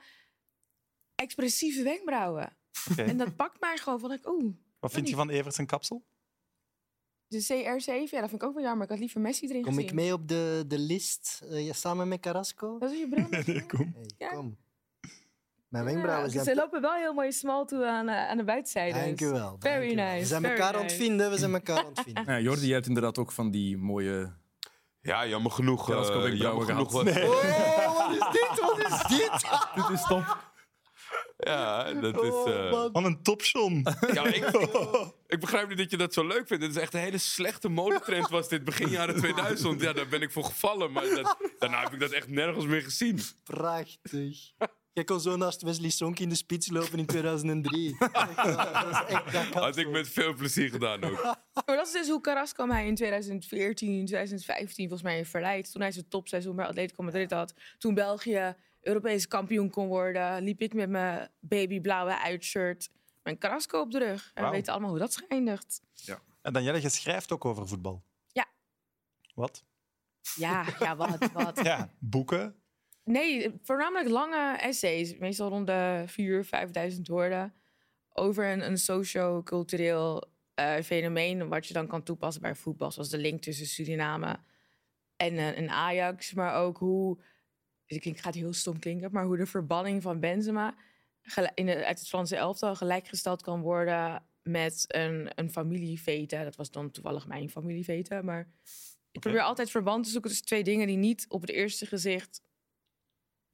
S5: expressieve wenkbrauwen.
S1: Oké.
S5: En dat pakt mij gewoon van, ik, oeh.
S1: Wat vind je van Evert zijn kapsel?
S5: De CR7, ja, dat vind ik ook wel jammer. Ik had liever Messi erin
S2: Kom
S5: gezien.
S2: ik mee op de, de list eh, ja, samen met Carrasco?
S5: Dat is je bril.
S1: kom.
S5: Ja.
S2: kom. Mijn
S5: Ja,
S2: wenkbrauwen
S5: Ze
S2: zijn...
S5: lopen wel heel mooi smal toe aan, eh, aan de buitenzijde.
S2: Dank u wel,
S5: Very nice.
S2: We zijn
S5: very
S2: elkaar aan het
S5: nice.
S2: vinden, we zijn elkaar aan het vinden.
S9: Ja, Jordi, jij hebt inderdaad ook van die mooie...
S6: Eh,
S3: Ja, jammer genoeg. eh, jammer genoeg wat-
S2: Oh, wat is dit? Wat is dit?
S9: Dit is top.
S3: Ja, dat is...
S5: Oh,
S2: Oh,
S3: eh,
S1: Van een topshon.
S3: ja, ik, ik- ik begrijp niet dat je dat zo leuk vindt. Het is echt een hele slechte modetrend was dit begin jaren 2000. Ja, daar ben ik voor gevallen. Maar dat, daarna heb ik dat echt nergens meer gezien.
S2: Prachtig. Jij kon zo naast Wesley Sonk in de spits lopen in 2003. Dat is echt-
S3: Had ik met veel plezier gedaan ook.
S5: Maar dat is dus hoe Carrasco mij in 2014, 2015 volgens mij verleid. Toen hij zijn topseizoen bij Atletico Madrid had. Toen België Europees kampioen kon worden. Liep ik met mijn babyblauwe uitshirt. Mijn Carrasco op de rug. En
S1: Wauw.
S5: we weten allemaal hoe dat is geëindigd.
S1: En dan Jelle, je schrijft ook over voetbal.
S5: Ja.
S1: Wat?
S5: Ja, ja wat, wat.
S1: Ja, boeken.
S5: Nee, voornamelijk lange essays. Meestal rond de 4.000, 5.000 woorden. Over een, een socio-cultureel eh, fenomeen. Wat je dan kan toepassen bij voetbal. Zoals de link tussen Suriname en, eh, en Ajax. Maar ook hoe. Ik denk, het gaat heel stom klinken. Maar hoe de verbanning van Benzema. gel- In de, uit het Franse elftal gelijkgesteld kan worden. met een, een familiefete. Dat was dan toevallig mijn familiefete. Maar ik probeer altijd verband te zoeken tussen twee dingen die niet op het eerste gezicht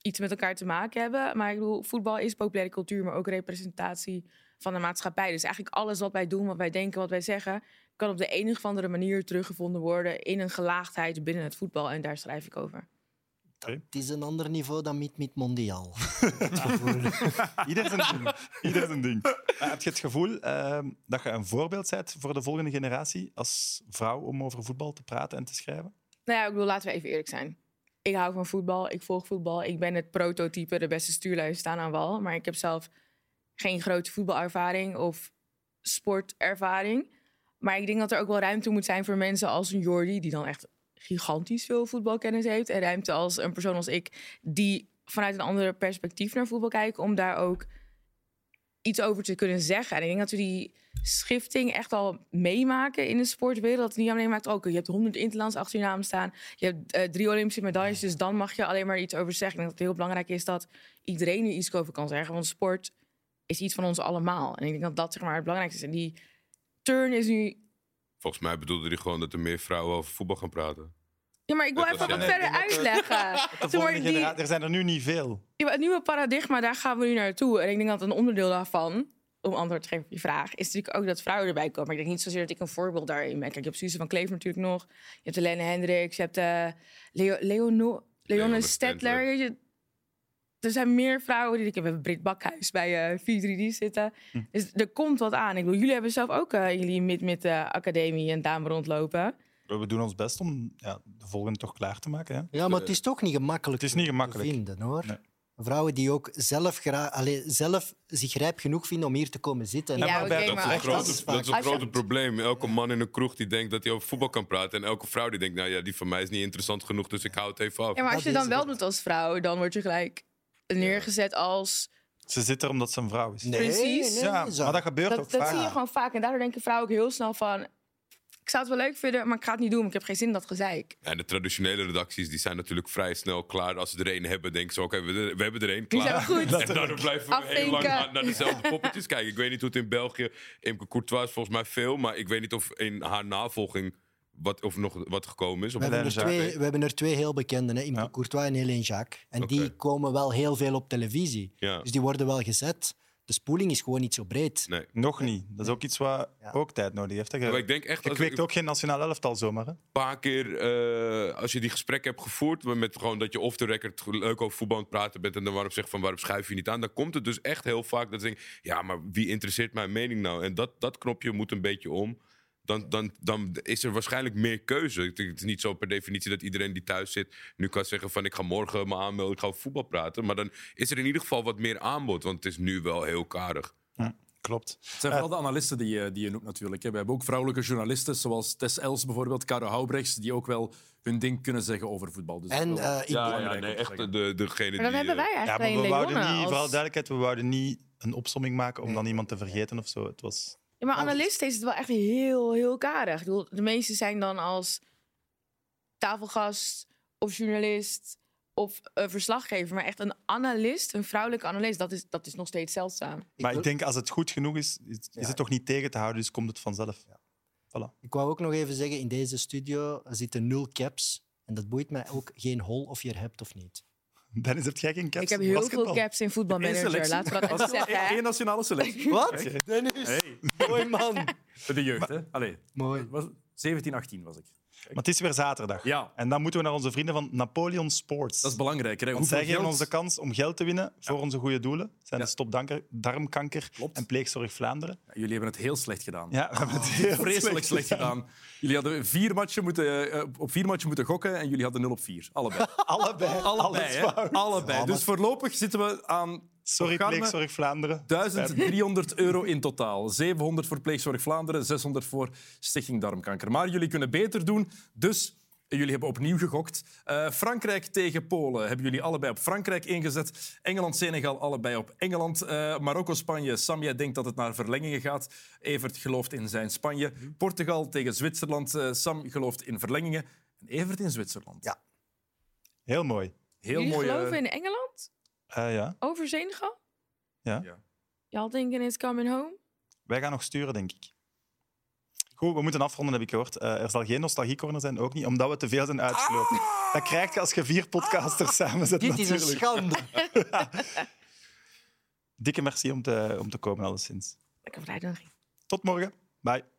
S5: iets met elkaar te maken hebben. Maar ik bedoel, voetbal is populaire cultuur, maar ook representatie van de maatschappij. Dus eigenlijk alles wat wij doen, wat wij denken, wat wij zeggen, kan op de een of andere manier teruggevonden worden in een gelaagdheid binnen het voetbal. En daar schrijf ik over.
S2: Het is een ander niveau dan Meet Meet Mondial.
S1: Ieder zijn ding. Ieder zijn ding. Maar heb je het gevoel ehm, dat je een voorbeeld bent voor de volgende generatie als vrouw om over voetbal te praten en te schrijven?
S5: Nou ja, ik bedoel, laten we even eerlijk zijn. Ik hou van voetbal, ik volg voetbal. Ik ben het prototype, de beste stuurlui staan aan wal. Maar ik heb zelf geen grote voetbalervaring of sportervaring. Maar ik denk dat er ook wel ruimte moet zijn voor mensen als een Jordi... die dan echt gigantisch veel voetbalkennis heeft. En ruimte als een persoon als ik, die vanuit een ander perspectief naar voetbal kijkt... om daar ook iets over te kunnen zeggen. En ik denk dat we die schifting echt al meemaken in de sportwereld. Dat het niet alleen maakt, ook je hebt 100 interlands achter je naam staan. Je hebt eh, drie Olympische medailles, dus dan mag je alleen maar iets over zeggen. Ik denk dat het heel belangrijk is dat iedereen er iets over kan zeggen. Want sport is iets van ons allemaal. En ik denk dat dat zeg maar, het belangrijkste is. En die turn is nu...
S3: Volgens mij bedoelde hij gewoon dat er meer vrouwen over voetbal gaan praten.
S5: Ja, maar ik wil
S3: Dat
S5: even
S3: was
S5: wat
S3: jij.
S5: verder
S1: Ik denk dat, eh,
S5: uitleggen.
S1: De
S5: Zeg maar,
S1: volgende
S5: die-
S1: generatie, er zijn er nu niet veel.
S5: Ja, maar het nieuwe paradigma, daar gaan we nu naartoe. En ik denk dat een onderdeel daarvan, om antwoord te geven op je vraag, is natuurlijk ook dat vrouwen erbij komen. Maar ik denk niet zozeer dat ik een voorbeeld daarin ben. Kijk, je hebt Suze van Kleef natuurlijk nog. Je hebt Helene Hendricks, je hebt eh Leo, Leono, Leone Stedtler. weet je. Er zijn meer vrouwen die ik heb. We hebben Britt Bakhuis bij eh 4-3-D zitten.
S3: Hm.
S5: Dus er komt wat aan. Ik bedoel, jullie hebben zelf ook eh, jullie mid-mid eh, academie en dame rondlopen.
S1: We doen ons best om ja, de volgende toch klaar te maken. Hè?
S2: Ja, maar het is toch niet gemakkelijk het is niet gemakkelijk. te vinden, hoor. Vrouwen die ook zelf, gra- allee, zelf zich rijp genoeg vinden om hier te komen zitten. En
S5: Ja,
S3: dat, is een
S2: dat
S3: grote,
S2: is
S3: dat is een
S2: vaak-
S3: grote probleem. Elke man in een kroeg die denkt dat hij over voetbal kan praten. En elke vrouw die denkt, nou ja, die van mij is niet interessant genoeg, dus ik hou het even af.
S5: Ja, maar als je het dan wel doet als vrouw, dan word je gelijk neergezet als...
S1: Ze zit er omdat ze een vrouw is.
S5: Nee, Precies. nee,
S1: ja,
S5: nee,
S1: maar dat gebeurt
S5: dat,
S1: ook
S5: dat
S1: vaak.
S5: zie je gewoon vaak. En daardoor denken vrouwen ook heel snel van... Ik zou het wel leuk vinden, maar ik ga het niet doen. want Ik heb geen zin in dat gezeik.
S3: En de traditionele redacties die zijn natuurlijk vrij snel klaar. Als ze er één hebben, denken ze: oké, we, we hebben er één
S5: Die
S3: klaar.
S5: zijn goed.
S3: En daardoor blijven we heel lang
S5: Afvinken.
S3: naar, naar dezelfde poppetjes kijken. Ik weet niet hoe het in België. Imke Courtois is volgens mij veel, maar ik weet niet of in haar navolging wat, of nog wat gekomen is.
S2: We hebben, er twee, we hebben er twee heel bekende, hè, Imke Courtois en Helene Jacques. En die komen wel heel veel op televisie.
S3: Ja.
S2: Dus die worden wel gezet. De spoeling is gewoon niet zo breed.
S1: Nog niet. Dat is ook iets wat ook tijd nodig heeft. hè. Je,
S3: Maar ik denk echt,
S1: je
S3: als
S1: kweekt
S3: ik-
S1: ook geen nationaal elftal zomaar. Hè?
S3: Een paar keer, eh, als je die gesprekken hebt gevoerd... met gewoon dat je off the record leuk over voetbal aan het praten bent... en dan waarom zegt van waarom schuif je niet aan... dan komt het dus echt heel vaak dat ze denken... ja, maar wie interesseert mijn mening nou? En dat, dat knopje moet een beetje om. Dan, dan, dan is er waarschijnlijk meer keuze. Ik denk, Het is niet zo per definitie dat iedereen die thuis zit... nu kan zeggen van ik ga morgen me aanmelden, ik ga over voetbal praten. Maar dan is er in ieder geval wat meer aanbod. Want het is nu wel heel karig.
S1: Klopt.
S9: Het zijn vooral de analisten die, je- die je noemt natuurlijk. hè. We hebben ook vrouwelijke journalisten, zoals Tess Els bijvoorbeeld, Caro Houbrechts, die ook wel hun ding kunnen zeggen over voetbal. Dus
S2: En,
S9: dat is wel
S2: eh, ik-
S3: Ja, ja,
S9: belangrijk
S3: nee,
S9: om te
S3: echt
S9: zeggen.
S3: de, degene
S5: Maar dan
S3: die...
S5: hebben
S3: eh,
S5: wij
S1: Ja,
S5: eigenlijk
S1: maar
S5: alleen
S1: we wouden
S5: Leonne
S1: niet,
S5: als-
S1: vooral duidelijkheid, we wouden niet een opsomming maken om dan iemand te vergeten of zo. Het was...
S5: Ja, maar analisten is het wel echt heel, heel karig. Ik bedoel, de meesten zijn dan als tafelgast of journalist of eh, verslaggever. Maar echt een analist, een vrouwelijke analist, dat is, dat is nog steeds zeldzaam.
S1: Maar ik denk, als het goed genoeg is, is, is het toch niet tegen te houden, dus komt het vanzelf. Voilà.
S2: Ik wou ook nog even zeggen, in deze studio zitten nul caps. En dat boeit mij ook geen hol of je er hebt of niet.
S1: Dennis, heb jij geen caps?
S5: Ik heb heel veel caps in voetbalmanager. Laten we dat even zeggen. hè.
S9: Eén nationale selectie.
S2: Wat? Dennis, mooi man.
S9: De jeugd, hè? Allee.
S2: Mooi.
S9: Was, 17, 18 was ik.
S1: Maar het is weer zaterdag. En dan moeten we naar onze vrienden van Napoleon Sports. Dat
S9: is belangrijk. Hè?
S1: Want
S9: Hoeveel
S1: zij geven
S9: geld-
S1: ons de kans om geld te winnen voor onze goede doelen. Zijn de Stop Danker- Darmkanker en Pleegzorg Vlaanderen.
S9: Jullie hebben het heel slecht gedaan.
S1: Ja, we hebben het heel
S9: Oh, Vreselijk slecht gedaan. Jullie hadden vier matchen moeten, eh, op vier matchen moeten gokken en jullie hadden 0 op 4. Allebei.
S1: Allebei.
S9: Allebei.
S1: Alles
S9: hè?
S1: fout.
S9: Allebei.
S1: Ja, maar-
S9: Dus voorlopig zitten we aan.
S1: Sorry,
S9: Programma-
S1: Pleegzorg Vlaanderen.
S9: 1300 euro in totaal. 700 voor Pleegzorg Vlaanderen, 600 voor Stichting Darmkanker. Maar jullie kunnen beter doen, dus jullie hebben opnieuw gegokt. Eh, Frankrijk tegen Polen hebben jullie allebei op Frankrijk ingezet. Engeland-Senegal allebei op Engeland. Eh, Marokko-Spanje, Sam, jij denkt dat het naar verlengingen gaat. Evert gelooft in zijn Spanje. Portugal tegen Zwitserland, eh, Sam gelooft in verlengingen. En Evert in Zwitserland.
S2: Ja.
S1: Heel mooi.
S9: Heel
S5: Jullie
S9: mooi. eh,
S5: geloven in Engeland?
S1: Eh, ja.
S5: Over Senegal?
S1: Ja.
S5: Y'all thinking it's coming home?
S1: Wij gaan nog sturen, denk ik. Goed, we moeten afronden, heb ik gehoord. Eh, er zal geen nostalgiecorner zijn, ook niet, omdat we te veel zijn uitgesloten. Dat krijg je als je vier podcasters samen zet.
S2: Ah! Dit is een
S1: natuurlijk.
S2: schande.
S1: Dikke merci om te, om te komen, alleszins.
S5: Ik heb het uitnodiging.
S1: Tot morgen. Bye.